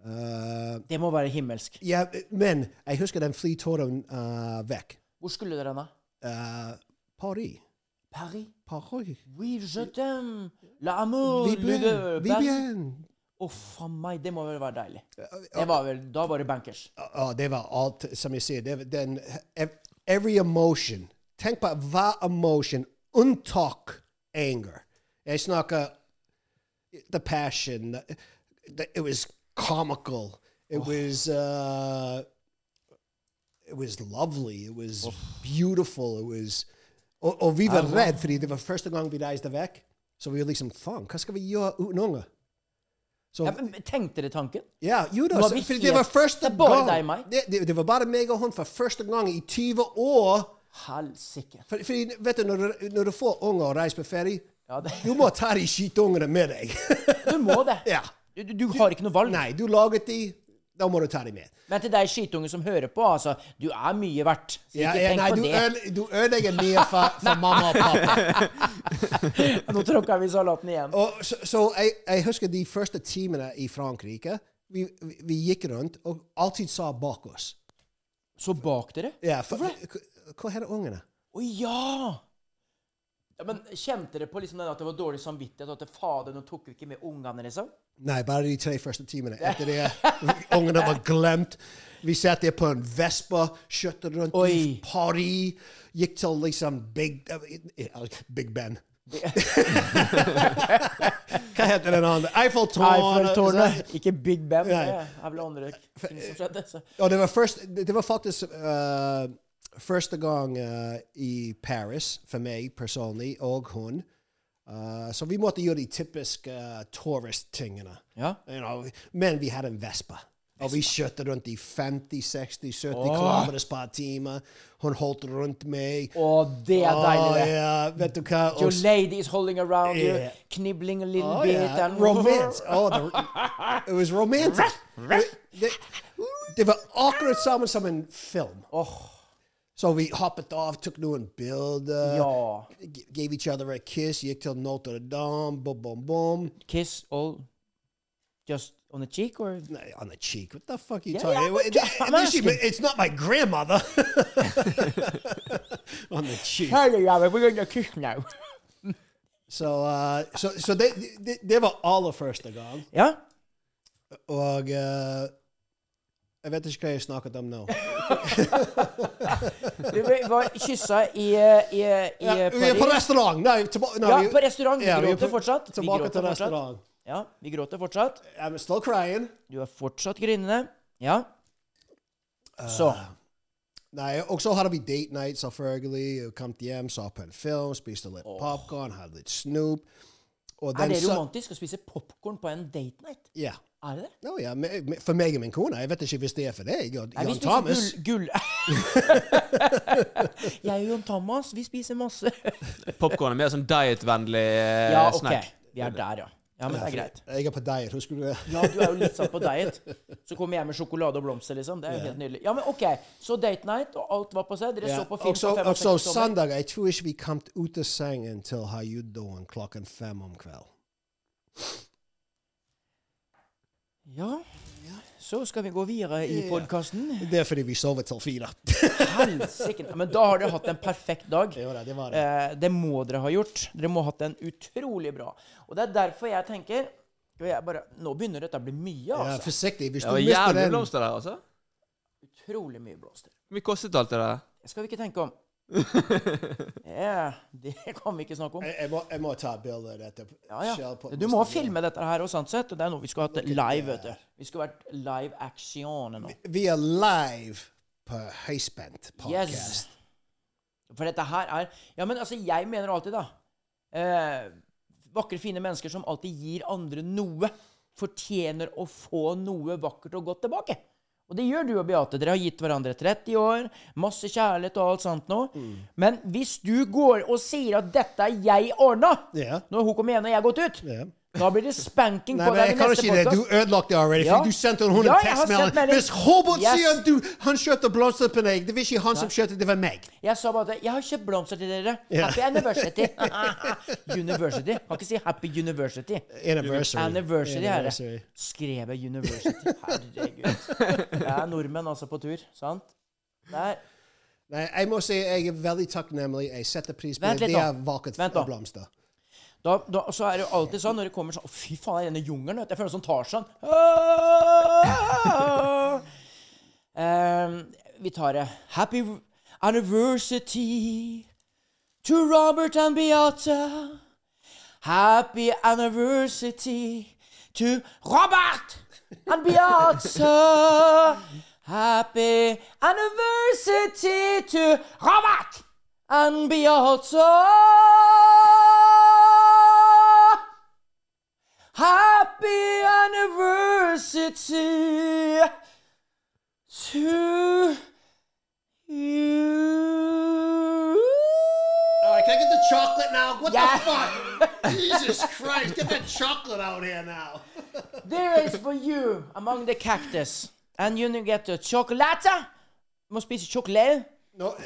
[SPEAKER 1] Uh,
[SPEAKER 2] Det må være himmelsk.
[SPEAKER 1] ja, men jeg husker den flyturen uh, vekk.
[SPEAKER 2] Hvor skulle dere da?
[SPEAKER 1] Uh, Paris.
[SPEAKER 2] Paris.
[SPEAKER 1] Paris.
[SPEAKER 2] Oui, je t'aime. L'amour.
[SPEAKER 1] Vibien. Vibien.
[SPEAKER 2] Å, faen meg. Det må vel være deilig. Det var vel, da var det bankers.
[SPEAKER 1] Ja, det var alt, som jeg sier. Det, var den, ev- every emotion. Tenk på hver emotion, unntak anger. Jeg snakker the passion. The, the- it was comical. It was uh, it was lovely. It was beautiful. It was og, og vi var redd, fordi det var første gang vi reiste vekk. Så vi var liksom Faen, hva skal vi gjøre uten unger? Så
[SPEAKER 2] Ja, men tenkte dere tanken?
[SPEAKER 1] ja, jo da.
[SPEAKER 2] Nå er
[SPEAKER 1] så-
[SPEAKER 2] vi
[SPEAKER 1] fordi det
[SPEAKER 2] helt-
[SPEAKER 1] var første
[SPEAKER 2] det er bare
[SPEAKER 1] gang.
[SPEAKER 2] deg og meg.
[SPEAKER 1] Det, det, det var bare meg og hun for første gang i 20 år.
[SPEAKER 2] Helsike.
[SPEAKER 1] For, fordi, vet du, når, du, når du får unger og reiser på ferie,
[SPEAKER 2] Ja, det-
[SPEAKER 1] du må ta de skitungene med deg.
[SPEAKER 2] Du må det.
[SPEAKER 1] ja.
[SPEAKER 2] Du, du- du har ikke noe valg.
[SPEAKER 1] Nei, du laget de, da må du ta de med.
[SPEAKER 2] Men til deg skitunge som hører på, altså. Du er mye verdt. Så ikke
[SPEAKER 1] Ja, ja,
[SPEAKER 2] tenk
[SPEAKER 1] nei,
[SPEAKER 2] på
[SPEAKER 1] du, eh,
[SPEAKER 2] det.
[SPEAKER 1] øde- du ødelegger mye for, for mamma og pappa.
[SPEAKER 2] Nå tråkka vi salaten igjen.
[SPEAKER 1] Og, så så jeg, jeg husker de første timene i Frankrike. Vi, vi, vi gikk rundt og alltid sa bak oss.
[SPEAKER 2] Så bak dere? Å
[SPEAKER 1] Ja, for, hva- hva heter ungene?
[SPEAKER 2] ja! ja! Men kjente dere på liksom den at det var dårlig samvittighet, og at det, fader, nå tok vi ikke med ungene, liksom?
[SPEAKER 1] Nei, bare de tre første timene. Etter det ungene var glemt. Vi satt der på en Vespa, kjørte rundt i
[SPEAKER 2] Oi.
[SPEAKER 1] Paris, gikk til liksom Big, eh, Big Ben. Hva heter den andre? Eiffeltårnet.
[SPEAKER 2] Eiffeltårnet. Ikke Big Ben. Det
[SPEAKER 1] Nei.
[SPEAKER 2] er vel andre ting som skjedde. Så.
[SPEAKER 1] Og det var, først, det var faktisk eh, første gang eh, i Paris for meg personlig og hun. Eh, så vi måtte gjøre de typiske uh, tourist-tingene.
[SPEAKER 2] Ja.
[SPEAKER 1] You know, men vi hadde en Vespa. Oh, Og vi kjørte rundt i 50-60-70 km per time. Hun holdt rundt meg.
[SPEAKER 2] Å, det er deilig,
[SPEAKER 1] Å,
[SPEAKER 2] det.
[SPEAKER 1] ja, vet du hva? Og
[SPEAKER 2] Your
[SPEAKER 1] s-
[SPEAKER 2] lady is holding around you,
[SPEAKER 1] Yeah.
[SPEAKER 2] knibbling a little
[SPEAKER 1] Oh,
[SPEAKER 2] bit.
[SPEAKER 1] yeah.
[SPEAKER 2] And
[SPEAKER 1] Romance. Oh, the, it was romantic. det, det var akkurat samme som en film. Så vi hoppet av, tok noen bilder,
[SPEAKER 2] Ja.
[SPEAKER 1] uh, g- gave each other a kiss, gikk til Notre Dame, bom, bom, bom.
[SPEAKER 2] Kiss all just on the cheek, or
[SPEAKER 1] Nei, On the cheek. What the fuck are you
[SPEAKER 2] Yeah,
[SPEAKER 1] talking
[SPEAKER 2] yeah,
[SPEAKER 1] about?
[SPEAKER 2] what the- I'm asking.
[SPEAKER 1] it's not my grandmother. On the cheek.
[SPEAKER 2] Hello, Robert, we're gonna kiss now.
[SPEAKER 1] Så, uh, så, så det, det, det var aller første gang.
[SPEAKER 2] ja?
[SPEAKER 1] Og eh, jeg vet ikke hva jeg snakket om nå.
[SPEAKER 2] Du var kyssa i, eh, i, eh, i
[SPEAKER 1] Ja,
[SPEAKER 2] eh,
[SPEAKER 1] vi er på
[SPEAKER 2] Paris.
[SPEAKER 1] restaurant. Nei, tilba- nei,
[SPEAKER 2] Ja,
[SPEAKER 1] vi-
[SPEAKER 2] på restaurant. Vi
[SPEAKER 1] vi er
[SPEAKER 2] gråter
[SPEAKER 1] på-
[SPEAKER 2] fortsatt. Vi
[SPEAKER 1] Tilbake
[SPEAKER 2] gråter
[SPEAKER 1] til
[SPEAKER 2] fortsatt.
[SPEAKER 1] restaurant.
[SPEAKER 2] Ja, vi gråter fortsatt.
[SPEAKER 1] I'm still crying.
[SPEAKER 2] Du er fortsatt grinende. Ja.
[SPEAKER 1] Eh,
[SPEAKER 2] Så.
[SPEAKER 1] Nei, og så hadde vi date night, selvfølgelig. og Kom hjem, så på en film, spiste litt popcorn, hadde litt snop. Og
[SPEAKER 2] Er
[SPEAKER 1] den
[SPEAKER 2] det
[SPEAKER 1] sa-
[SPEAKER 2] romantisk å spise popkorn på en date night?
[SPEAKER 1] Ja.
[SPEAKER 2] Er det det?
[SPEAKER 1] Nå, ja, me- me- for meg og min kone. Jeg vet ikke hvis det er for deg. Jan
[SPEAKER 2] Nei, vi
[SPEAKER 1] Jan
[SPEAKER 2] spiser
[SPEAKER 1] Thomas.
[SPEAKER 2] gull... gull. Jeg og Jon Thomas, vi spiser masse.
[SPEAKER 1] Eh,
[SPEAKER 3] Popkorn er mer sånn dietvennlig eh,
[SPEAKER 2] Ja, OK.
[SPEAKER 3] snack.
[SPEAKER 2] Vi er der, ja. Ja, men det er greit.
[SPEAKER 1] Jeg er på diet. Husker du det?
[SPEAKER 2] Ja, du er jo litt sånn på diet. Så kommer jeg med sjokolade og blomster, liksom. Det er jo helt nydelig. Ja, men OK. Så date night, og alt var på seg. Dere så på film
[SPEAKER 1] Og så-
[SPEAKER 2] på
[SPEAKER 1] og så
[SPEAKER 2] 65 tommer.
[SPEAKER 1] søndag Jeg tror ikke vi kom ut av sengen til How You Doing klokken fem om kvelden.
[SPEAKER 2] Ja. Så skal vi gå videre i podkasten.
[SPEAKER 1] Det er fordi vi sover til fire.
[SPEAKER 2] Helsike. Men da har dere hatt en perfekt dag.
[SPEAKER 1] Jo da, det var det.
[SPEAKER 2] Eh, det må dere ha gjort. Dere må ha hatt en utrolig bra. Og det er derfor jeg tenker skal jeg bare, Nå begynner dette å bli mye,
[SPEAKER 1] Ja,
[SPEAKER 2] altså.
[SPEAKER 1] forsiktig. Hvis
[SPEAKER 3] Det
[SPEAKER 1] du
[SPEAKER 3] var
[SPEAKER 1] mister
[SPEAKER 3] jævlig
[SPEAKER 1] den
[SPEAKER 3] blomster der, altså.
[SPEAKER 2] Utrolig mye blomster.
[SPEAKER 3] Hvor mye kostet alt det der?
[SPEAKER 2] Det skal vi ikke tenke om. Ja, det kan vi ikke snakke om.
[SPEAKER 1] jeg, jeg, må, jeg må ta et bilde av dette.
[SPEAKER 2] Ja, ja.
[SPEAKER 1] Selv på-
[SPEAKER 2] Du må filme dette her også, sant sett. Og det er noe vi skulle hatt live, vet du. Vi skulle vært live action nå.
[SPEAKER 1] Vi er live på Høyspent
[SPEAKER 2] Yes.
[SPEAKER 1] podcast.
[SPEAKER 2] For dette her er Ja, men altså, jeg mener alltid, da eh, Vakre, fine mennesker som alltid gir andre noe, fortjener å få noe vakkert og godt tilbake. Og det gjør du og Beate. Dere har gitt hverandre 30 år, masse kjærlighet og alt sånt nå.
[SPEAKER 1] Mm.
[SPEAKER 2] Men hvis du går og sier at 'dette er jeg ordna'
[SPEAKER 1] Ja.
[SPEAKER 2] når hun kommer igjen og jeg har gått ut,
[SPEAKER 1] Ja.
[SPEAKER 2] da blir det spanking
[SPEAKER 1] Nei,
[SPEAKER 2] på
[SPEAKER 1] men
[SPEAKER 2] deg
[SPEAKER 1] jeg
[SPEAKER 2] i
[SPEAKER 1] kan
[SPEAKER 2] neste
[SPEAKER 1] ikke det. Du
[SPEAKER 2] podkast.
[SPEAKER 1] ødelagte det allerede.
[SPEAKER 2] Ja.
[SPEAKER 1] fordi Du sendte hun
[SPEAKER 2] Ja,
[SPEAKER 1] en
[SPEAKER 2] jeg har sendt
[SPEAKER 1] tekstmelding.
[SPEAKER 2] melding.
[SPEAKER 1] Hvis Robert
[SPEAKER 2] Yes.
[SPEAKER 1] sier at du, han kjøpte blomster på deg, det var ikke han som kjøpte, det var meg.
[SPEAKER 2] Jeg sa bare at jeg har kjøpt blomster til dere. Happy University. university. Kan ikke si Happy University.
[SPEAKER 1] Anniversary.
[SPEAKER 2] Anniversary, herre.
[SPEAKER 1] Anniversary.
[SPEAKER 2] Skrev jeg University? Herregud. Det er nordmenn altså på tur, sant? Der.
[SPEAKER 1] Nei, jeg må si jeg er veldig takknemlig. Jeg setter pris på
[SPEAKER 2] Vent
[SPEAKER 1] det.
[SPEAKER 2] litt
[SPEAKER 1] Det er
[SPEAKER 2] nå.
[SPEAKER 1] vakkert
[SPEAKER 2] Vent nå.
[SPEAKER 1] blomster.
[SPEAKER 2] Da, da, så er det jo alltid sånn når det kommer sånn Å, fy faen, det er denne jungelen. vet du. Jeg føler sånn som Tarzan. Åh! Ehm, vi tar det. Happy anniversary to Robert and Beate. Happy anniversary to Robert and Beate. Happy anniversary to Robert and Beate. Happy anniversary to you.
[SPEAKER 1] Alright, can I get the chocolate now? What
[SPEAKER 2] Yeah.
[SPEAKER 1] fuck? Jesus Christ, get that chocolate out here now.
[SPEAKER 2] There is for you among the cactus. And you need to get a chocolate. Du må spise sjokolade.
[SPEAKER 1] No, eh,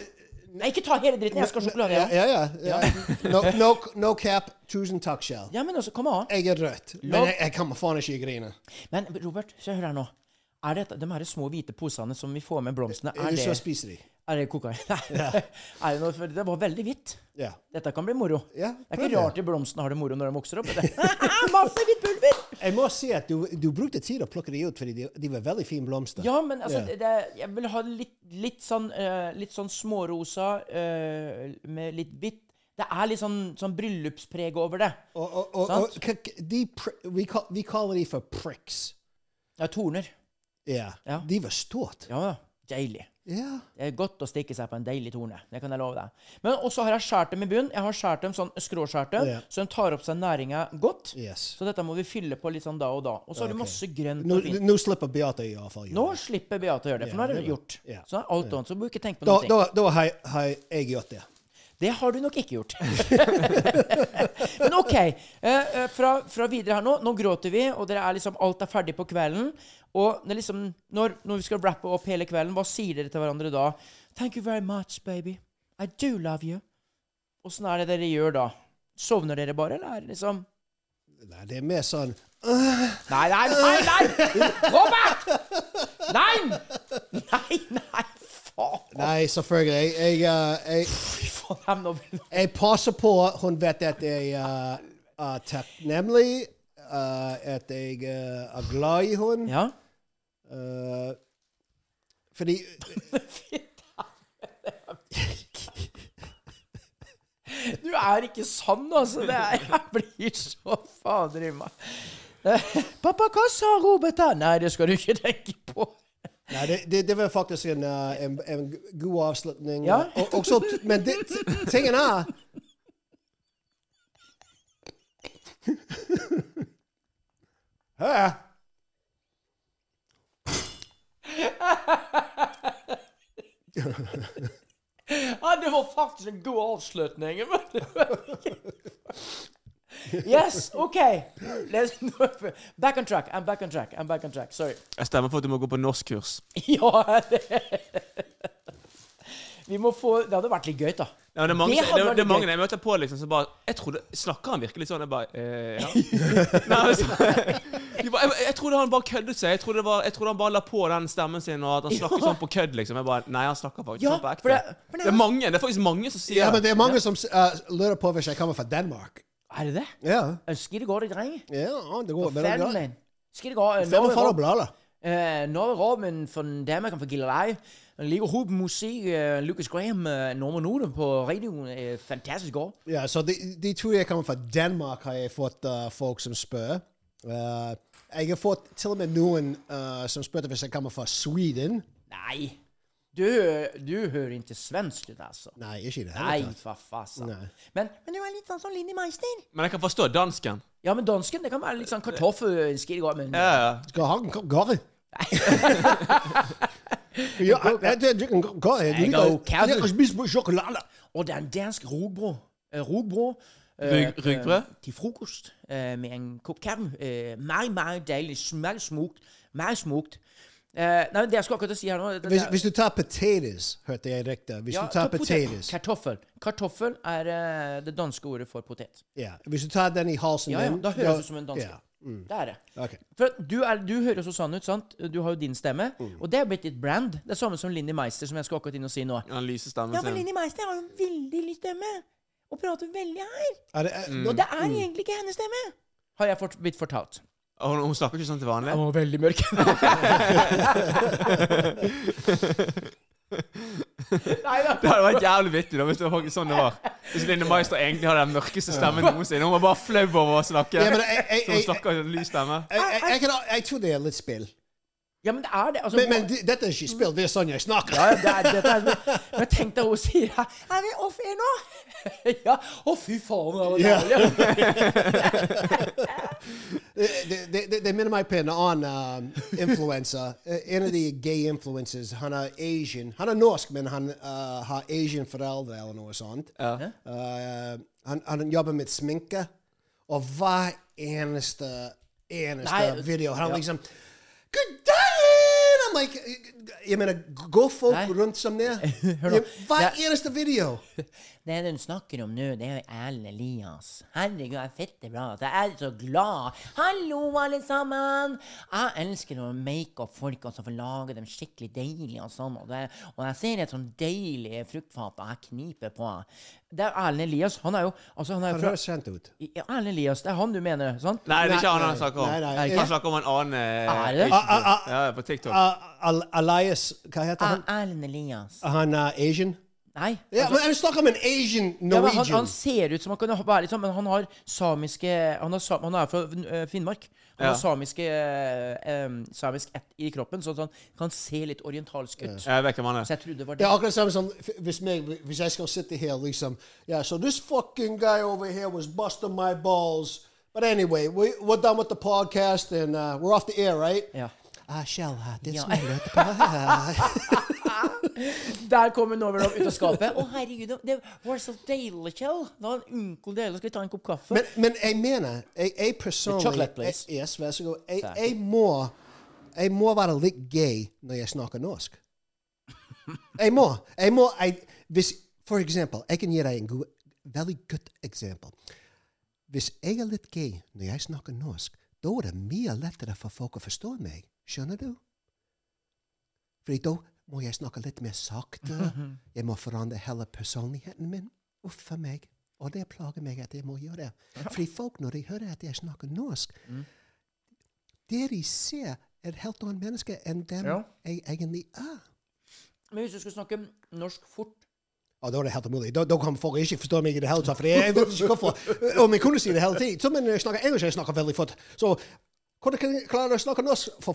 [SPEAKER 2] Nei, ikke ta hele dritten. Jeg skal ha sjokolade.
[SPEAKER 1] ja,
[SPEAKER 2] Ja,
[SPEAKER 1] ja, ja. ja. No, no, no cap, tusen takk, Kjell.
[SPEAKER 2] ja, men også, kom an.
[SPEAKER 1] Jeg er rødt, men
[SPEAKER 2] Lov-
[SPEAKER 1] jeg, jeg kan faen ikke grine.
[SPEAKER 2] Men Robert, se hør her nå. Er dette, de her små hvite posene som Eh, vi får med blomstene,
[SPEAKER 1] Er
[SPEAKER 2] er
[SPEAKER 1] du så
[SPEAKER 2] det,
[SPEAKER 1] spiser de?
[SPEAKER 2] er det kokain? Nei. Er det, noe, for det var veldig hvitt.
[SPEAKER 1] Ja.
[SPEAKER 2] Dette kan bli moro.
[SPEAKER 1] Ja,
[SPEAKER 2] det er
[SPEAKER 1] prøv
[SPEAKER 2] ikke
[SPEAKER 1] det.
[SPEAKER 2] rart de blomstene har det moro når de vokser opp. vet du. Masse hvitt pulver!
[SPEAKER 1] Jeg må si at du, du brukte tid å plukke de ut, fordi de, de var veldig fine blomster.
[SPEAKER 2] Ja, men altså,
[SPEAKER 1] Ja.
[SPEAKER 2] det, det- jeg vil ha litt, litt, sånn, eh, litt sånn smårosa eh, med litt hvitt. Det er litt sånn, sånn bryllupspreg over det.
[SPEAKER 1] Og, og, og, og
[SPEAKER 2] Sant.
[SPEAKER 1] k- k- de, pr- vi, kal, vi kaller de for pricks.
[SPEAKER 2] Ja, torner.
[SPEAKER 1] Ja.
[SPEAKER 2] Ja.
[SPEAKER 1] De var stort.
[SPEAKER 2] Ja, ja. deilig.
[SPEAKER 1] Ja.
[SPEAKER 2] Det er godt å stikke seg på en deilig torne. Det kan jeg love deg. Men også har jeg skåret dem i bunnen. Jeg har skåret dem sånn skråskjært dem,
[SPEAKER 1] Ja.
[SPEAKER 2] så de tar opp seg næringa godt.
[SPEAKER 1] Yes.
[SPEAKER 2] Så dette må vi fylle på litt sånn da og da. Og så har du masse grønt
[SPEAKER 1] Nå,
[SPEAKER 2] og fint.
[SPEAKER 1] nå slipper Beate i hvert fall. gjøre
[SPEAKER 2] Nå
[SPEAKER 1] det.
[SPEAKER 2] slipper Beate å gjøre det, for nå er det
[SPEAKER 1] det er bra.
[SPEAKER 2] gjort.
[SPEAKER 1] Ja.
[SPEAKER 2] Så er alt annet, så du må ikke tenke på
[SPEAKER 1] Da,
[SPEAKER 2] noe.
[SPEAKER 1] da, da har, jeg- har jeg gjort det.
[SPEAKER 2] Det har du nok ikke gjort. Men OK. Eh, eh, fra, fra videre her nå. Nå gråter vi, og dere er liksom, alt er ferdig på kvelden. Og det er liksom, når, når vi skal rappe opp hele kvelden, hva sier dere til hverandre da? Thank you very much, baby. I do love you. Åssen er det dere gjør da? Sovner dere bare, eller er det liksom
[SPEAKER 1] Nei, det er mer sånn
[SPEAKER 2] Nei, nei, nei! nei! Robert! Nei! Nei, nei, faen!
[SPEAKER 1] Nei, selvfølgelig. Jeg, jeg, eh, jeg,
[SPEAKER 2] Fy faen, nå blir det-
[SPEAKER 1] jeg passer på hun vet at jeg eh, er takknemlig, eh, at jeg eh, er glad i hun.
[SPEAKER 2] Ja?
[SPEAKER 1] Eh, fordi
[SPEAKER 2] Du er ikke sann, altså. Det er, jeg blir så fader i meg. Eh, Pappa, hva sa Robert da? Nei, det skal du ikke tenke på.
[SPEAKER 1] Nei, det, det, det var faktisk en, eh, en, en god avslutning.
[SPEAKER 2] Ja.
[SPEAKER 1] Og, og så, men det, tingen er Hæ?
[SPEAKER 2] Ja, det var faktisk en god avslutning. men det var ikke- Yes, OK. Let's, back on track. I'm back on track. I'm back on track. Sorry.
[SPEAKER 3] Jeg stemmer for at du må gå på norskkurs.
[SPEAKER 2] Ja, det Vi må få Det hadde vært litt gøy, da.
[SPEAKER 3] Ja, det er mange,
[SPEAKER 2] Det
[SPEAKER 3] det
[SPEAKER 2] hadde
[SPEAKER 3] det,
[SPEAKER 2] vært
[SPEAKER 3] det er mange
[SPEAKER 2] gøy.
[SPEAKER 3] jeg møter på liksom, som bare jeg trodde, Snakker han virkelig sånn? Jeg bare eh, ja. Nei, altså, de bare, jeg, jeg trodde han bare køddet seg. Jeg trodde, det var, jeg trodde han bare la på den stemmen sin, og at han snakket
[SPEAKER 2] Ja.
[SPEAKER 3] sånn på kødd. liksom. Jeg bare, Nei, han snakker faktisk
[SPEAKER 2] Ja,
[SPEAKER 3] sånn på ekte.
[SPEAKER 2] for
[SPEAKER 3] Det,
[SPEAKER 2] det- for det-
[SPEAKER 3] er mange, det er faktisk mange som sier
[SPEAKER 1] Ja, men det er mange som uh, lurer på hvis jeg kommer fra Danmark.
[SPEAKER 2] Er det det?
[SPEAKER 1] Ja,
[SPEAKER 2] Ønsker det går, de dreng.
[SPEAKER 1] ja det går veldig
[SPEAKER 2] Fanen
[SPEAKER 1] bra.
[SPEAKER 2] min. Skal det gå? øh,
[SPEAKER 1] Fem
[SPEAKER 2] Norge
[SPEAKER 1] og fyrre
[SPEAKER 2] Rob-
[SPEAKER 1] blader.
[SPEAKER 2] øh, Norge Robin fra Danmark han fra Gilleleje. Han ligger hovedmusik. øh, Lucas Graham, øh, nogle minutter på radioen. øh, fantastisk år.
[SPEAKER 1] Ja, så de, de tror jeg kommer fra Danmark, har jeg fått uh, folk som spør. Uh, jeg har fått til og med noen uh, som spurte hvis jeg kommer fra Sweden.
[SPEAKER 2] Nej. Du, hø- du hører ikke svensk ut, altså.
[SPEAKER 1] Nei, ikke i det er
[SPEAKER 2] Nei,
[SPEAKER 1] hele tatt.
[SPEAKER 2] for fasen.
[SPEAKER 1] Nei.
[SPEAKER 2] Men, men du er litt sånn som Linni Meister.
[SPEAKER 3] Men jeg kan forstå dansken.
[SPEAKER 2] Ja, men dansken det kan være litt sånn kartoffel går, men
[SPEAKER 3] Ja, ja.
[SPEAKER 1] Skal han gå- gå i? Ja, er jeg- jeg- jeg kan gå- gå i. Jeg
[SPEAKER 2] Nei,
[SPEAKER 1] liker-
[SPEAKER 2] gå, kaffe.
[SPEAKER 1] jeg liker å spise på sjokolade.
[SPEAKER 2] Og det er en dansk rugbrød. Eh, Rugbrød. eh,
[SPEAKER 3] Rug-
[SPEAKER 2] eh,
[SPEAKER 3] rugbrød?
[SPEAKER 2] Til frokost eh, med en kopp kaffe. Eh, Meget, meget deilig. Smaker smukt. Meget smukt. Eh, nei, men det jeg skulle akkurat si her nå det- det-
[SPEAKER 1] Hvis, hvis du tar potatoes, hørte jeg riktig. Hvis
[SPEAKER 2] Ja,
[SPEAKER 1] du tar
[SPEAKER 2] ta potet-
[SPEAKER 1] potatoes.
[SPEAKER 2] Kartoffel. Kartoffel er eh, det danske ordet for potet.
[SPEAKER 1] Ja, hvis du tar den i halsen
[SPEAKER 2] Ja, ja,
[SPEAKER 1] din,
[SPEAKER 2] da høres du ut som en danske.
[SPEAKER 1] Ja.
[SPEAKER 2] Det er det.
[SPEAKER 1] Ok.
[SPEAKER 2] For at du, er, du høres jo sånn ut, sant? Du har jo din stemme. Og det er blitt ditt brand. Det er samme som Linni Meister, som jeg skal akkurat inn og si nå.
[SPEAKER 3] Den lyse stemmen sin.
[SPEAKER 2] Meister har jo en veldig lys stemme. Og prater veldig her.
[SPEAKER 1] Er det, er,
[SPEAKER 2] Og det er egentlig ikke hennes stemme. Har jeg fått, blitt fortalt.
[SPEAKER 3] Og Hun, hun snakker ikke sånn til vanlig.
[SPEAKER 2] var veldig mørk. Nei da.
[SPEAKER 3] Det hadde vært jævlig vittig da, hvis det var faktisk sånn det var. Hvis Linda Meister egentlig hadde den mørkeste stemmen noensinne. Hun var bare flau over å snakke.
[SPEAKER 1] Ja, men jeg- jeg-
[SPEAKER 3] Så hun
[SPEAKER 1] jeg-
[SPEAKER 3] snakker en lys stemme.
[SPEAKER 1] jeg, jeg, jeg, kan, jeg tror det er litt spill.
[SPEAKER 2] Ja, men det er det. Altså,
[SPEAKER 1] Men, men det- dette er ikke spill, det er sånn jeg snakker.
[SPEAKER 2] Ja, det er, dette er, men tenk deg hun sier her, Er vi off air nå? ja. Å, fy faen, det var
[SPEAKER 1] Ja.
[SPEAKER 2] deilig.
[SPEAKER 1] Det, det- det, det, det minner meg på en annen um, influenser. Eh, En av de gay influencers. Han er Asian. Han er norsk, men han eh, har Asian foreldre eller noe sånt. Eh, han, han jobber med sminke, og hver eneste, eneste
[SPEAKER 2] Nei,
[SPEAKER 1] video Han
[SPEAKER 2] ja.
[SPEAKER 1] liksom Good day! I'm like, jeg mener, går folk
[SPEAKER 2] Nei.
[SPEAKER 1] rundt som det?
[SPEAKER 2] Hør nå.
[SPEAKER 1] Hver
[SPEAKER 2] Det-
[SPEAKER 1] eneste video!
[SPEAKER 2] Det hun snakker om nå, det er jo Erlend Elias. Herregud, jeg er fette bra. altså. Jeg er så glad. Hallo, alle sammen! Jeg elsker å make up folk og så få lage dem skikkelig deilige og sånn. Og, det, og jeg ser et sånn deilig fruktfat og jeg kniper på. Det er Erlend Elias. Han er jo altså, han er
[SPEAKER 1] Han
[SPEAKER 2] jo fra,
[SPEAKER 1] høres kjent ut.
[SPEAKER 2] Ja, Erlend Elias, det er han du mener, sant?
[SPEAKER 3] Nei, det er ikke han han
[SPEAKER 1] nei,
[SPEAKER 3] snakker om.
[SPEAKER 1] nei, nei.
[SPEAKER 3] Han snakker om en annen eh,
[SPEAKER 2] Er det?
[SPEAKER 3] Asian
[SPEAKER 1] Ah, ah,
[SPEAKER 3] dude. Ja, på TikTok.
[SPEAKER 1] Uh, Al- Elias, hva heter
[SPEAKER 2] Er
[SPEAKER 1] han?
[SPEAKER 2] Erlend Elias.
[SPEAKER 1] Han er Asian?
[SPEAKER 2] Nei.
[SPEAKER 1] Ah. Ja, men jeg snakker om en Asian
[SPEAKER 2] Ja, men han,
[SPEAKER 1] Norwegian.
[SPEAKER 2] han ser ut som han kan ha- være litt sånn, men han har samiske Han, har, sa- han er fra øh, Finnmark. Han
[SPEAKER 3] Ja.
[SPEAKER 2] har samiske, øh, em, samisk ett i kroppen, sånn at han kan se litt orientalsk ut.
[SPEAKER 3] Jeg vet hvem han er.
[SPEAKER 2] Så jeg trodde det var
[SPEAKER 1] Det
[SPEAKER 2] det.
[SPEAKER 1] er akkurat samme som f- hvis, meg, hvis jeg skal sitte her liksom Yeah, so this fucking guy over here was busting my balls. But anyway, we, we're done with the podcast and uh, we're off the air, right?
[SPEAKER 2] Ja.
[SPEAKER 1] I shall have this
[SPEAKER 2] Ja.
[SPEAKER 1] minute pie.
[SPEAKER 2] Der kom hun over da, ut av skapet. Å, herregud, det var så deilig, Kjell. Da en onkel deler, skal vi ta en kopp kaffe?
[SPEAKER 1] men, men jeg mener, jeg, jeg personlig
[SPEAKER 2] chocolate, please.
[SPEAKER 1] jeg, Yes, vær så god. Jeg, jeg, må, jeg må være litt gay når jeg snakker norsk. Jeg må. Jeg må jeg, hvis, for eksempel, jeg kan gi deg en god, veldig godt eksempel. Hvis jeg er litt gay når jeg snakker norsk, da er det mye lettere for folk å forstå meg. Skjønner du? Fordi da må jeg snakke litt mer sakte. Jeg må forandre hele personligheten min. Uff a meg. Og det plager meg at jeg må gjøre det. Fordi folk, når de hører at jeg snakker norsk, det de ser, er et helt annet menneske enn dem
[SPEAKER 2] Ja.
[SPEAKER 1] jeg egentlig er.
[SPEAKER 2] Men hvis du skulle snakke norsk fort
[SPEAKER 1] Ja, da er det helt umulig. Da, da kan folk ikke forstå meg i det hele tatt. For jeg vet ikke hvorfor. Om jeg kunne si det hele tiden. Så, men jeg snakker engelsk, jeg snakker veldig fort. Så hvordan kan jeg klare å snakke norsk? For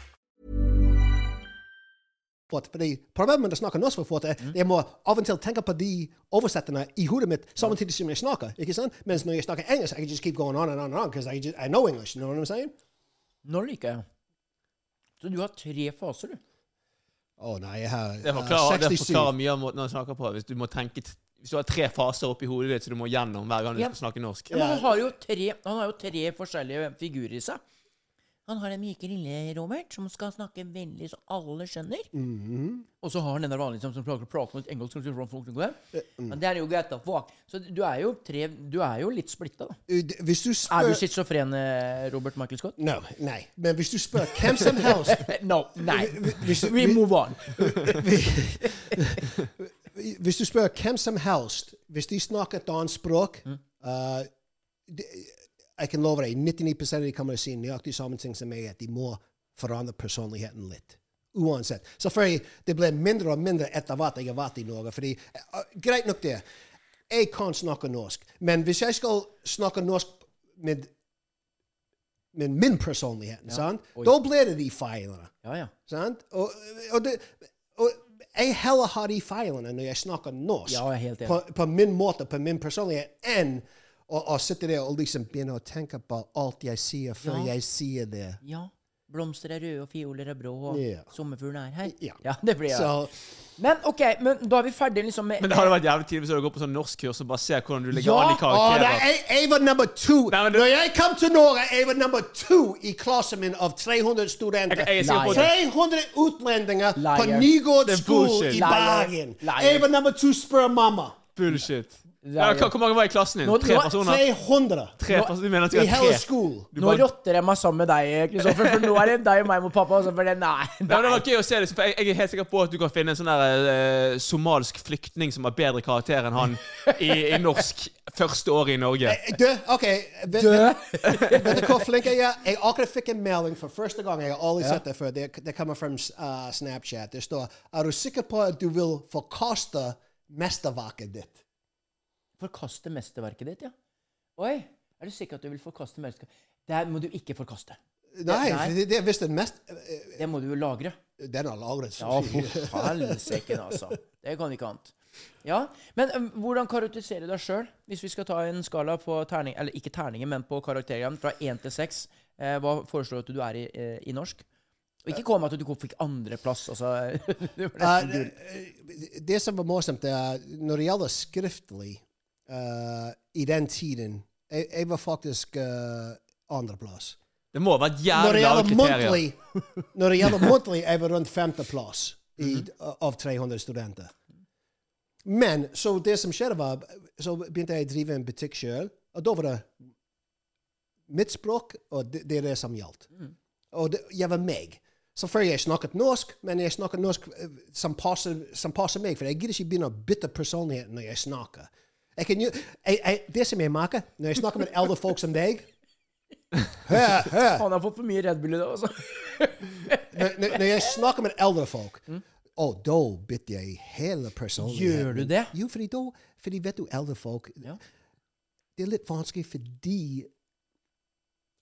[SPEAKER 1] fort. Fordi problemet med å snakke norsk for fort er
[SPEAKER 3] Mm.
[SPEAKER 1] jeg må av og til tenke på de oversetterne i hodet mitt samtidig som jeg snakker. ikke sant? Mens når jeg snakker engelsk, I can just keep going on and on and on because I, just- I know English. You know what I'm saying?
[SPEAKER 2] Nå liker jeg. Så du har tre faser, du.
[SPEAKER 1] Å nei, jeg har
[SPEAKER 3] Det
[SPEAKER 1] jeg har
[SPEAKER 3] forklarer, det
[SPEAKER 1] 67.
[SPEAKER 3] forklarer mye om måten han snakker på. Hvis du må tenke t- Hvis du har tre faser oppi hodet ditt som du må gjennom hver gang du
[SPEAKER 2] Ja.
[SPEAKER 3] skal snakke norsk.
[SPEAKER 2] Ja, men han, har jo tre, han har jo tre forskjellige figurer i seg. Han har den myke lille Robert, som skal snakke veldig så alle skjønner.
[SPEAKER 1] Mhm.
[SPEAKER 2] Og så har han den der vanlige som, som klarer å prate litt engelsk. og så får han folk til å gå
[SPEAKER 1] Eh,
[SPEAKER 2] hjem.
[SPEAKER 1] mm.
[SPEAKER 2] Men det er jo greit, da. fuck. Så du er jo, tre, du er jo litt splitta, da.
[SPEAKER 1] Eh, Hvis du
[SPEAKER 2] Er du
[SPEAKER 1] spør
[SPEAKER 2] schizofren, eh, Robert Michael Scott?
[SPEAKER 1] No, nei. Men hvis du spør hvem som helst
[SPEAKER 2] No, nei.
[SPEAKER 1] hvis-
[SPEAKER 2] We move on.
[SPEAKER 1] Hvis du spør hvem som helst Hvis de snakker et annet språk eh, de- Jeg kan love deg, 99 av de kommer til å si nøyaktig samme ting som meg, at de må forandre personligheten litt. Uansett. Selvfølgelig, det ble mindre og mindre etter hvert jeg har vært i Norge. fordi, eh, Greit nok, det. Jeg kan snakke norsk. Men hvis jeg skal snakke norsk med, med min personlighet, sant?
[SPEAKER 2] Oi.
[SPEAKER 1] da blir det de feilene.
[SPEAKER 2] Ja, ja.
[SPEAKER 1] Sant? Og, og, det, og jeg heller har de feilene når jeg snakker norsk
[SPEAKER 2] Ja, jeg er helt enig.
[SPEAKER 1] på, på min måte, på min personlighet, enn å, å sitte der og liksom begynne å tenke på alt jeg sier, før
[SPEAKER 2] Ja.
[SPEAKER 1] jeg sier det.
[SPEAKER 2] ja. Blomster er røde, og fioler er brå, og
[SPEAKER 1] Ja.
[SPEAKER 2] sommerfuglen er her.
[SPEAKER 1] Ja.
[SPEAKER 2] det blir det.
[SPEAKER 1] Så
[SPEAKER 2] Men OK, men da er vi ferdige liksom med
[SPEAKER 3] Men det hadde vært jævlig tidlig hvis du hadde gått på sånn norskkurs og bare ser hvordan du ligger
[SPEAKER 2] Ja,
[SPEAKER 3] an i
[SPEAKER 1] å, nei,
[SPEAKER 3] karakterer.
[SPEAKER 1] jeg, jeg var nummer to.
[SPEAKER 3] Nei, men du-
[SPEAKER 1] Når jeg kom til Norge, jeg var nummer to i klassen min av 300 studenter.
[SPEAKER 3] Jeg- jeg sier
[SPEAKER 2] på det.
[SPEAKER 1] 300 utlendinger på
[SPEAKER 2] Liar.
[SPEAKER 1] Nygård
[SPEAKER 3] Det er
[SPEAKER 1] skole
[SPEAKER 3] bullshit.
[SPEAKER 1] i
[SPEAKER 2] Liar.
[SPEAKER 1] Bergen.
[SPEAKER 2] Liar.
[SPEAKER 1] Jeg var nummer to, spør mamma.
[SPEAKER 3] Bullshit. Ja, hva- hvor mange var i klassen din?
[SPEAKER 2] Nå-
[SPEAKER 3] Tre
[SPEAKER 2] nå-
[SPEAKER 3] personer?
[SPEAKER 1] 300.
[SPEAKER 3] Tre personer. Du mener at
[SPEAKER 1] I
[SPEAKER 3] jeg har
[SPEAKER 1] hele
[SPEAKER 3] tre?
[SPEAKER 1] skolen.
[SPEAKER 3] Du
[SPEAKER 2] Nå
[SPEAKER 3] bare-
[SPEAKER 2] rotter jeg meg sammen med deg, Kristoffer, for nå er det deg og meg mot pappa. Altså, for det, nei,
[SPEAKER 3] Ja, men det
[SPEAKER 2] nei.
[SPEAKER 3] var gøy å se det, for jeg, jeg er helt sikker på at du kan finne en sånn der, eh, somalsk flyktning som har bedre karakter enn han i, i norsk første året i Norge.
[SPEAKER 1] Du, OK. Vet, vet, vet du hvor flink jeg er? Jeg akkurat fikk en melding for første gang. Jeg har aldri sett det før. Det, det kommer fra uh, Snapchat. Det står Er du sikker på at du vil forkaste mesterverket ditt?
[SPEAKER 2] Forkaste mesterverket ditt, ja. Oi, er du sikker at du vil forkaste mesterverket? Det må du ikke forkaste.
[SPEAKER 1] Nei,
[SPEAKER 2] Nei.
[SPEAKER 1] for det, det er visst en mest... eh,
[SPEAKER 2] Det må du jo lagre.
[SPEAKER 1] Den har lagret så
[SPEAKER 2] Ja,
[SPEAKER 1] fint.
[SPEAKER 2] for helsike, altså. Det kan ikke annet. Ja, Men øhm, hvordan karakteriserer du deg sjøl, hvis vi skal ta en skala på terning, eller ikke terninger, men på karakterene fra én til seks? Eh, hva foreslår du at du er i, eh, i norsk? Og ikke kom med at du fikk andreplass. Altså, du ble
[SPEAKER 1] Eh,
[SPEAKER 2] nesten gull.
[SPEAKER 1] det som var morsomt, det er når det gjelder skriftlig eh, i den tiden Jeg, jeg var faktisk eh, andreplass.
[SPEAKER 3] Det må ha
[SPEAKER 1] Når
[SPEAKER 3] vært
[SPEAKER 1] det
[SPEAKER 3] jævlig lave
[SPEAKER 1] gjelder
[SPEAKER 3] kriterier.
[SPEAKER 1] muntlig, når det gjelder muntlig, er vi rundt femteplass i,
[SPEAKER 3] Mhm.
[SPEAKER 1] av 300 studenter. Men så det som skjedde, var Så begynte jeg å drive en butikk sjøl, og da var det mitt språk, og det, det er det som gjaldt.
[SPEAKER 3] Mhm.
[SPEAKER 1] Og det, jeg var meg. Selvfølgelig jeg snakket norsk, men jeg snakket norsk eh, som passer, som passer meg, for jeg gidder ikke begynne å bytte personlighet når jeg snakker. Jeg kan, jo- jeg, jeg, det som jeg merker når jeg snakker med eldre folk som deg Hør, hør!
[SPEAKER 2] Han har fått for mye Red Bull i dag, altså.
[SPEAKER 1] når, når- når jeg snakker med eldre folk, og da bytter jeg hele personligheten.
[SPEAKER 2] Gjør du det?
[SPEAKER 1] Jo, fordi da fordi vet du, eldre folk
[SPEAKER 2] Ja.
[SPEAKER 1] Det er litt vanskelig for de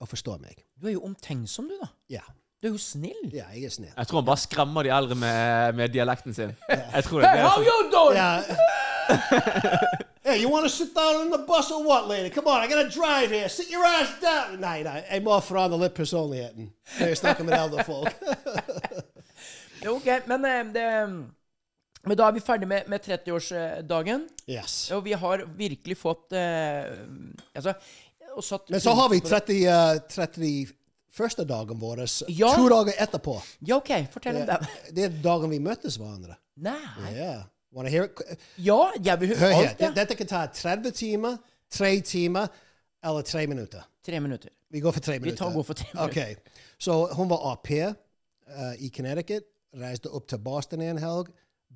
[SPEAKER 1] å forstå meg.
[SPEAKER 2] Du er jo omtenksom, du, da.
[SPEAKER 1] Ja,
[SPEAKER 2] Du er jo snill.
[SPEAKER 1] ja jeg er snill.
[SPEAKER 3] Jeg tror han bare skremmer de eldre med, med dialekten sin. Jeg tror det
[SPEAKER 2] Hey,
[SPEAKER 3] er sånn-
[SPEAKER 2] how
[SPEAKER 3] det.
[SPEAKER 2] you doing?
[SPEAKER 1] Yeah. hey, you want to sit down on the bus or what, lady? Come on, I gotta drive here. Sit your ass down. Nei, nei, jeg må forandre litt personligheten når jeg snakker med eldre folk.
[SPEAKER 2] Jo, ok, men, eh, det, men da er vi ferdig med, med 30-årsdagen.
[SPEAKER 1] Yes.
[SPEAKER 2] Og vi har virkelig fått eh, altså, og satt
[SPEAKER 1] Men så har vi 30, eh, 31. dagen vår,
[SPEAKER 2] Ja.
[SPEAKER 1] to dager etterpå.
[SPEAKER 2] Ja, OK, fortell om
[SPEAKER 1] Det,
[SPEAKER 2] den.
[SPEAKER 1] det er dagen vi møttes hverandre.
[SPEAKER 2] Nei
[SPEAKER 1] Ja. Wanna hear it?
[SPEAKER 2] Ja, jeg vil
[SPEAKER 1] Hør
[SPEAKER 2] høre
[SPEAKER 1] her.
[SPEAKER 2] alt,
[SPEAKER 1] det-
[SPEAKER 2] jeg.
[SPEAKER 1] Dette kan ta 30 timer, 3 timer eller 3 minutter.
[SPEAKER 2] Tre minutter.
[SPEAKER 1] Vi går for 3 minutter.
[SPEAKER 2] tar- går for tre
[SPEAKER 1] Ok. Så hun var au pair. eh, i Connecticut. Reiste opp til Boston en helg.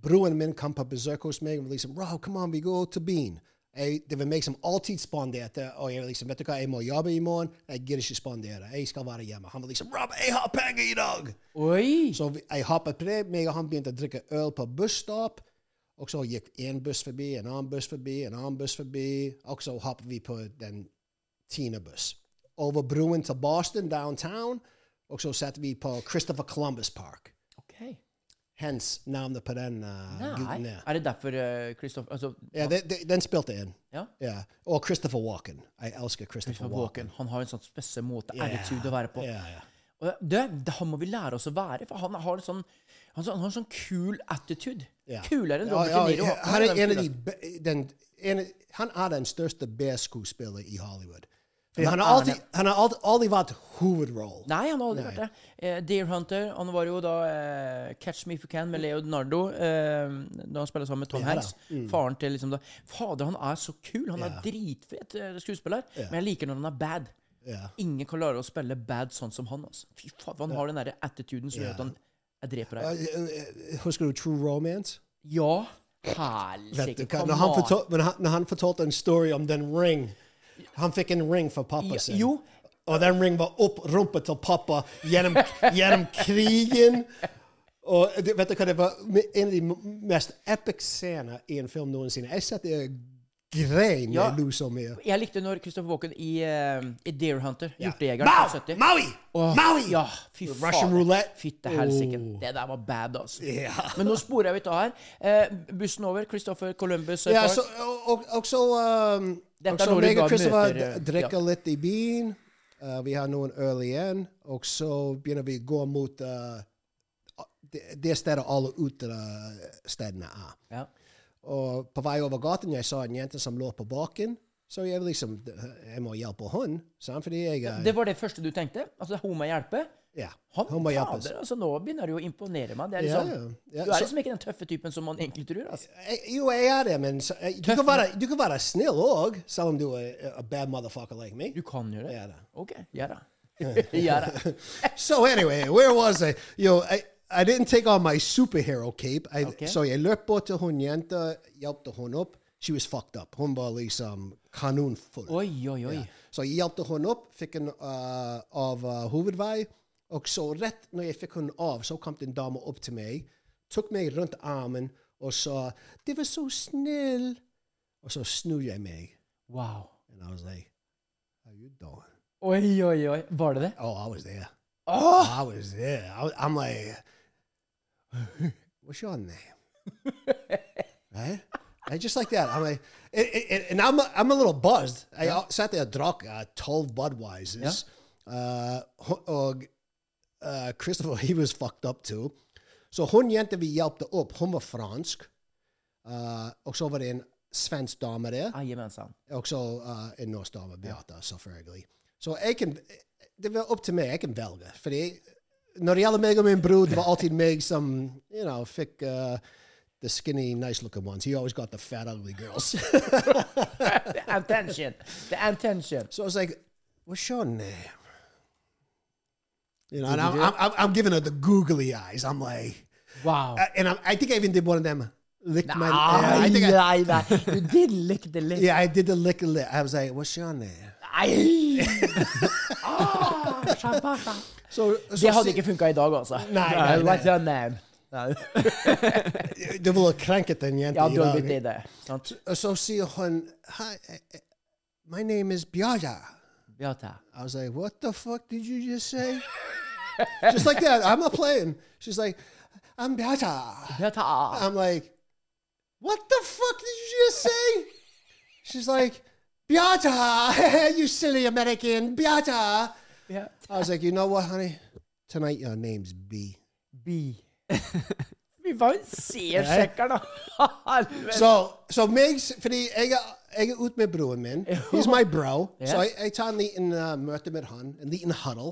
[SPEAKER 1] Broren min kom på besøk hos meg og liksom Wow, come on, vi går til byen. Jeg, det var meg som alltid spanderte. Og jeg liksom, vet du hva, jeg må jobbe i morgen. Jeg gidder ikke spandere. Jeg skal være hjemme. Han var liksom Rob, jeg har penger i dag!
[SPEAKER 2] Oi!
[SPEAKER 1] Så vi- jeg hoppet på det. Meg og han begynte å drikke øl på busstopp. Og så gikk en buss forbi, en annen buss forbi, en annen buss forbi. Og så hoppet vi på den tiende buss. Over broen til Boston, downtown. Og så satt vi på Christopher Columbus Park.
[SPEAKER 2] Ok.
[SPEAKER 1] Hens navnet på den uh, gutten
[SPEAKER 2] Nei.
[SPEAKER 1] der.
[SPEAKER 2] Er det derfor eh, Christopher altså,
[SPEAKER 1] Ja, de, de, den spilte inn.
[SPEAKER 2] Ja.
[SPEAKER 1] Ja. Og Christopher Walken. Jeg elsker Christopher,
[SPEAKER 2] Christopher
[SPEAKER 1] Walken.
[SPEAKER 2] Walken. Han har en sånn spesiell måte,
[SPEAKER 1] Ja.
[SPEAKER 2] attitude, å være på.
[SPEAKER 1] Ja, ja.
[SPEAKER 2] Og det, det, han må vi lære oss å være, for han har en sånn, han, han har en sånn cool attitude.
[SPEAKER 1] Ja.
[SPEAKER 2] Kulere enn
[SPEAKER 1] Ja,
[SPEAKER 2] Robert
[SPEAKER 1] ja,
[SPEAKER 2] De Niro.
[SPEAKER 1] ja, Han er en av de be- den, en, Han er den største B-skuespiller i Hollywood. For han har
[SPEAKER 2] er
[SPEAKER 1] alltid, han har aldri, aldri vært hovedrolle.
[SPEAKER 2] Nei, han har aldri vært det. Eh, Deer Hunter, han var jo da eh, Catch Me If You Can med Leonardo eh, da han spiller sammen med Tom
[SPEAKER 1] Ja, da. Mm.
[SPEAKER 2] Hanks. Faren til liksom da Fader, han er så kul! Han er
[SPEAKER 1] Ja.
[SPEAKER 2] dritfet eh, skuespiller, men jeg liker når han er bad.
[SPEAKER 1] Ja.
[SPEAKER 2] Ingen kan klare å spille bad sånn som han. Altså. Fy faen, han har den derre attituden som gjør at han jeg
[SPEAKER 1] Eh,
[SPEAKER 2] dreper deg.
[SPEAKER 1] eh, Husker du True Romance?
[SPEAKER 2] Ja,
[SPEAKER 1] Vet du
[SPEAKER 2] helsike!
[SPEAKER 1] hva?
[SPEAKER 2] come
[SPEAKER 1] Når han,
[SPEAKER 2] on.
[SPEAKER 1] fortol, når, han, når han fortalte en story om den ring Han fikk en ring fra pappa sin.
[SPEAKER 2] Jo,
[SPEAKER 1] Og den ring var opp rumpa til pappa gjennom, gjennom krigen. Og det, vet du hva, det var en av de m- mest epic scener i en film noensinne. Jeg satt og grein da
[SPEAKER 2] Ja.
[SPEAKER 1] jeg lo så mye.
[SPEAKER 2] Jeg likte når Christopher Walken i, eh, i Deer Hunter,
[SPEAKER 1] Ja.
[SPEAKER 2] hjortejegeren
[SPEAKER 1] Mau!
[SPEAKER 2] fra 70
[SPEAKER 1] Maui!
[SPEAKER 2] Åh,
[SPEAKER 1] Maui!
[SPEAKER 2] Ja, fy
[SPEAKER 1] Russian
[SPEAKER 2] faen.
[SPEAKER 1] roulette.
[SPEAKER 2] Fytte helsike.
[SPEAKER 1] Oh.
[SPEAKER 2] Det der var bad, altså.
[SPEAKER 1] Ja.
[SPEAKER 2] Men nå sporer jeg ut av her. Eh, bussen over. Christopher Columbus. eh,
[SPEAKER 1] Ja,
[SPEAKER 2] Park.
[SPEAKER 1] så, og, og, og så um,
[SPEAKER 2] Dette
[SPEAKER 1] og
[SPEAKER 2] er
[SPEAKER 1] så
[SPEAKER 2] når du
[SPEAKER 1] meg
[SPEAKER 2] da
[SPEAKER 1] og Christopher
[SPEAKER 2] møter,
[SPEAKER 1] d-
[SPEAKER 2] eh,
[SPEAKER 1] drikker
[SPEAKER 2] ja.
[SPEAKER 1] litt i byen. Uh, vi har noen øl igjen. Og så begynner vi å gå mot uh, det, det stedet alle utestedene er.
[SPEAKER 2] ja.
[SPEAKER 1] Og på vei over gaten jeg så en jente som lå på baken. Så jeg liksom Jeg må hjelpe henne. Sant? Fordi jeg er
[SPEAKER 2] Det var det første du tenkte? Altså, hun må hjelpe?
[SPEAKER 1] Ja.
[SPEAKER 2] Han,
[SPEAKER 1] Hun må hjelpes.
[SPEAKER 2] fader, altså, nå begynner du å imponere meg. Det er
[SPEAKER 1] Ja,
[SPEAKER 2] liksom,
[SPEAKER 1] ja. Ja,
[SPEAKER 2] du er
[SPEAKER 1] så-
[SPEAKER 2] liksom ikke den tøffe typen som man egentlig tror. Altså.
[SPEAKER 1] Jeg- Jo, jeg er det, men så, jeg, du,
[SPEAKER 2] Tøff,
[SPEAKER 1] kan være, du kan være snill òg, selv om du er a bad motherfucker like me.
[SPEAKER 2] Du kan gjøre det?
[SPEAKER 1] Ja, da.
[SPEAKER 2] OK. Ja da. ja da.
[SPEAKER 1] So anyway, where was I? Yo, I, I didn't take on my superhero cape. I,
[SPEAKER 2] Okay.
[SPEAKER 1] So jeg løp bort til hun jenta, hjalp hun opp. She was fucked up. Hun var liksom kanonfull.
[SPEAKER 2] Oi, oi, oi.
[SPEAKER 1] Så jeg hjalp henne opp, fikk henne eh, av eh, hovedvei. Og så rett når jeg fikk henne av, så kom det en dame opp til meg, tok meg rundt armen og sa 'Det var så snill'. Og så snur jeg meg.
[SPEAKER 2] Wow.
[SPEAKER 1] And I was like, how you doing?
[SPEAKER 2] Oi, oi, oi. Var det det?
[SPEAKER 1] Oh, I was there.
[SPEAKER 2] Åh!
[SPEAKER 1] I was there. I was, I'm like, what's your name? right? And just like that, I'm like, and, and, and I'm, a, I'm a little buzzed. I out- sat there, drank uh, 12 Budweisers. Uh, ho- og, uh, Christopher, he was fucked up too. Så hun jenta vi hjalp opp, hun var fransk. Uh, og så var det en svensk dame der.
[SPEAKER 2] Ah, Jajamensan.
[SPEAKER 1] Også uh, en norsk dame, Beata, selvfølgelig. Så jeg kan, det var opp til meg. Jeg kan velge. Fordi når det gjelder meg og min bror, det var alltid meg som you know, fikk uh, the skinny, nice-looking ones. He always got the fat, ugly girls.
[SPEAKER 2] The attention. The attention.
[SPEAKER 1] so I was like, what's your name? You know, and I'm, I'm, I'm, I'm giving her the googly eyes. I'm like,
[SPEAKER 2] Wow.
[SPEAKER 1] I- and I'm, I think I even did one of them. Lick my, yeah, I
[SPEAKER 2] Nei,
[SPEAKER 1] think I,
[SPEAKER 2] nei, nei. Du did lick the lick.
[SPEAKER 1] yeah, I did the lick, lick. I was like, what's your name?
[SPEAKER 2] Nei! Ah, shabasha.
[SPEAKER 1] So, so
[SPEAKER 2] det hadde ikke funka i dag, altså.
[SPEAKER 1] Nei, nei, nei.
[SPEAKER 2] What's your name?
[SPEAKER 1] Du ville krenket den jenta
[SPEAKER 2] Ja,
[SPEAKER 1] i
[SPEAKER 2] du hadde blitt det.
[SPEAKER 1] dag.
[SPEAKER 2] der, Sant?
[SPEAKER 1] Og så sier hun Hi, eh, eh, my name is Bjarja.
[SPEAKER 2] Beata.
[SPEAKER 1] I was like, what the fuck did you just say? just like that. I'm not playing. She's like, I'm Bjarja.
[SPEAKER 2] Beata.
[SPEAKER 1] I'm like, what the fuck did you just say? She's like, Bjarja, you silly American, Bjarja.
[SPEAKER 2] Ja.
[SPEAKER 1] I was like, you know what, honey? Tonight your name's B.
[SPEAKER 2] B. Vi var en C-sjekker, da. Helvete.
[SPEAKER 1] So, so meg, s- fordi jeg er, jeg er ute med broren min. He's my bro. Så jeg,
[SPEAKER 2] Yes.
[SPEAKER 1] jeg tar en liten uh, møte med han, en liten huddle.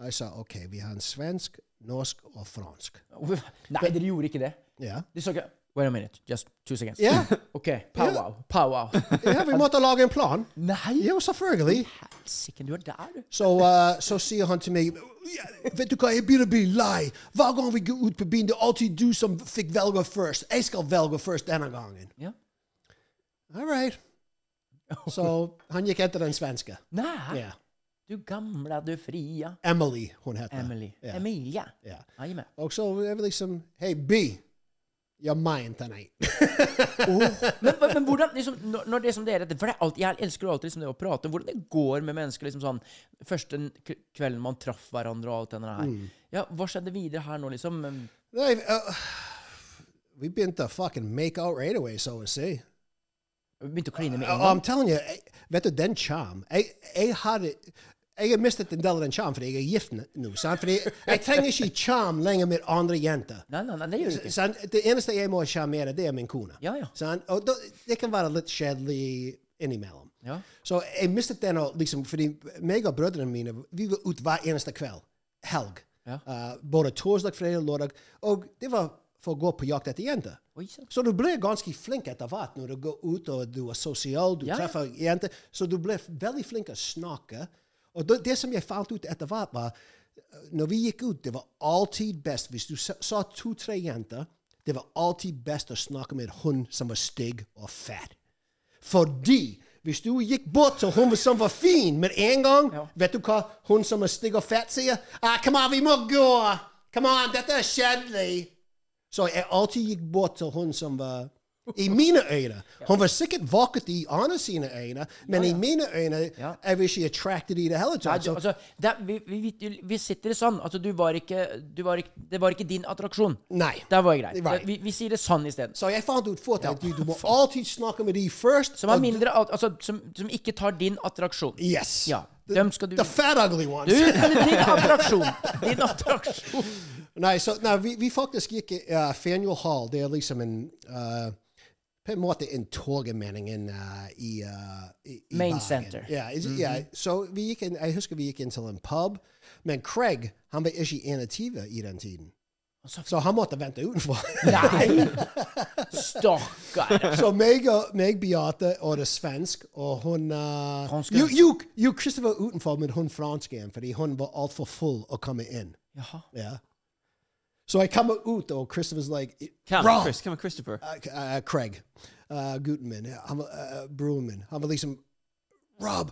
[SPEAKER 1] Og jeg sa OK, vi har en svensk, norsk og fransk.
[SPEAKER 2] Nei, dere gjorde ikke det.
[SPEAKER 1] Ja.
[SPEAKER 2] Du så ikke Wait a minute. Just two seconds.
[SPEAKER 1] Ja.
[SPEAKER 2] OK. Powwow. Powwow.
[SPEAKER 1] ja, vi måtte lage en plan.
[SPEAKER 2] Nei,
[SPEAKER 1] Jo, selvfølgelig.
[SPEAKER 2] helsike, du er der, du.
[SPEAKER 1] Så, eh, så sier han til meg «Ja, Vet du hva, jeg begynner å bli lei. Hver gang vi går ut på byen, det er alltid du som fikk velge først. Jeg skal velge først denne gangen.
[SPEAKER 2] Ja.
[SPEAKER 1] All right. Så han gikk etter den svenske.
[SPEAKER 2] Nei,
[SPEAKER 1] Ja.
[SPEAKER 2] du gamla, du fria.
[SPEAKER 1] Emily, hun heter.
[SPEAKER 2] Emily.
[SPEAKER 1] Ja.
[SPEAKER 2] Emilia.
[SPEAKER 1] Ja.
[SPEAKER 2] Jajamän.
[SPEAKER 1] Og så er vi liksom Hei, B. You're mine tonight.
[SPEAKER 2] Men, men, men hvordan, liksom, når, når det som det er dette, for det er alt, Jeg elsker jo alltid liksom det å prate om hvordan det går med mennesker. liksom sånn, Første n- k- kvelden man traff hverandre og alt det der.
[SPEAKER 1] Mm.
[SPEAKER 2] Ja, Hva skjedde videre her nå, liksom? Men-
[SPEAKER 1] Nei, eh, vi begynte å fucking make out right away, så å si.
[SPEAKER 2] Begynte å kline med
[SPEAKER 1] Ja,
[SPEAKER 2] en
[SPEAKER 1] Uh, I'm
[SPEAKER 2] gang?
[SPEAKER 1] telling you, jeg, vet du, den charm Eh, Jeg, jeg hadde Jeg har mistet en del av den charm fordi jeg er gift n- nå. sant? Fordi jeg trenger ikke charm lenger med andre jenter.
[SPEAKER 2] Nei, nei, nei, det gjør du ikke.
[SPEAKER 1] Sant? Det eneste jeg må sjarmere, det er min kone.
[SPEAKER 2] Ja, ja.
[SPEAKER 1] Sant? Og da, det kan være litt kjedelig innimellom.
[SPEAKER 2] Ja.
[SPEAKER 1] Så jeg mistet den, og liksom, fordi meg og brødrene mine vi var ute hver eneste kveld. Helg.
[SPEAKER 2] Ja.
[SPEAKER 1] Eh, både torsdag, fredag, lørdag. Og det var for å gå på jakt etter jenter.
[SPEAKER 2] Oi, sant.
[SPEAKER 1] Så du blir ganske flink etter hvert når du går ut og du er sosial, du
[SPEAKER 2] Ja, ja.
[SPEAKER 1] treffer jenter. Så du blir veldig flink å snakke. Og det, det som jeg fant ut etter hvert, var eh, når vi gikk ut, det var alltid best hvis du sa- sa to-tre jenter. Det var alltid best å snakke med hun som var stygg og fett. Fordi hvis du gikk bort til hun som var fin med en gang, vet du hva hun som er stygg og fett sier? Ah, come on, vi må gå! Come on, dette er kjedelig! Så jeg alltid gikk bort til hun som var I mine øyne. Hun var sikkert vakkert i andre sine øyne, men i mine øyne
[SPEAKER 2] Ja.
[SPEAKER 1] jeg var ikke attracted i det hele
[SPEAKER 2] Nei,
[SPEAKER 1] tatt.
[SPEAKER 2] du,
[SPEAKER 1] Så,
[SPEAKER 2] altså, det, er- vi, vi, vi- vi sitter i sånn. Altså, du var ikke, du var ikke, det var ikke din attraksjon.
[SPEAKER 1] nei.
[SPEAKER 2] Der var jeg grei.
[SPEAKER 1] Right.
[SPEAKER 2] Det- Vi, vi sier det sann isteden.
[SPEAKER 1] Så jeg fant ut fort at du, du må alltid snakke med de først.
[SPEAKER 2] Som, er
[SPEAKER 1] og du-
[SPEAKER 2] mindre, al- altså, som, som ikke tar din attraksjon.
[SPEAKER 1] Yes.
[SPEAKER 2] Ja, dem skal du
[SPEAKER 1] The fat ugly ones.
[SPEAKER 2] Du, din attraksjon! Din attraksjon.
[SPEAKER 1] Nei, så, nei vi, vi faktisk gikk uh, Faneuil Hall. Det er liksom en eh, på en måte en torgemening inn, eh, i, eh, i, i
[SPEAKER 2] Main
[SPEAKER 1] Bergen.
[SPEAKER 2] center. Mm-hmm.
[SPEAKER 1] Ja, is- ja, så vi gikk inn, jeg husker vi gikk inn til en pub, men Craig han var ikke 21 i den tiden. Så han måtte vente utenfor.
[SPEAKER 2] Nei! Stakkar.
[SPEAKER 1] så meg, og- meg Beate, og det svensk, og hun eh,
[SPEAKER 2] Franske.
[SPEAKER 1] Jo, jo, jo, Christopher utenfor, men hun fransk igjen, fordi hun var altfor full å komme inn.
[SPEAKER 2] Jaha.
[SPEAKER 1] Ja. Så jeg kommer ut, og Christopher's like
[SPEAKER 3] Hvem?
[SPEAKER 1] "Bra!"
[SPEAKER 3] Chris, hvem er Christopher?
[SPEAKER 1] uh, uh, Craig uh, Gutenman. I'm a uh, Bruman. I'm at least some Rob.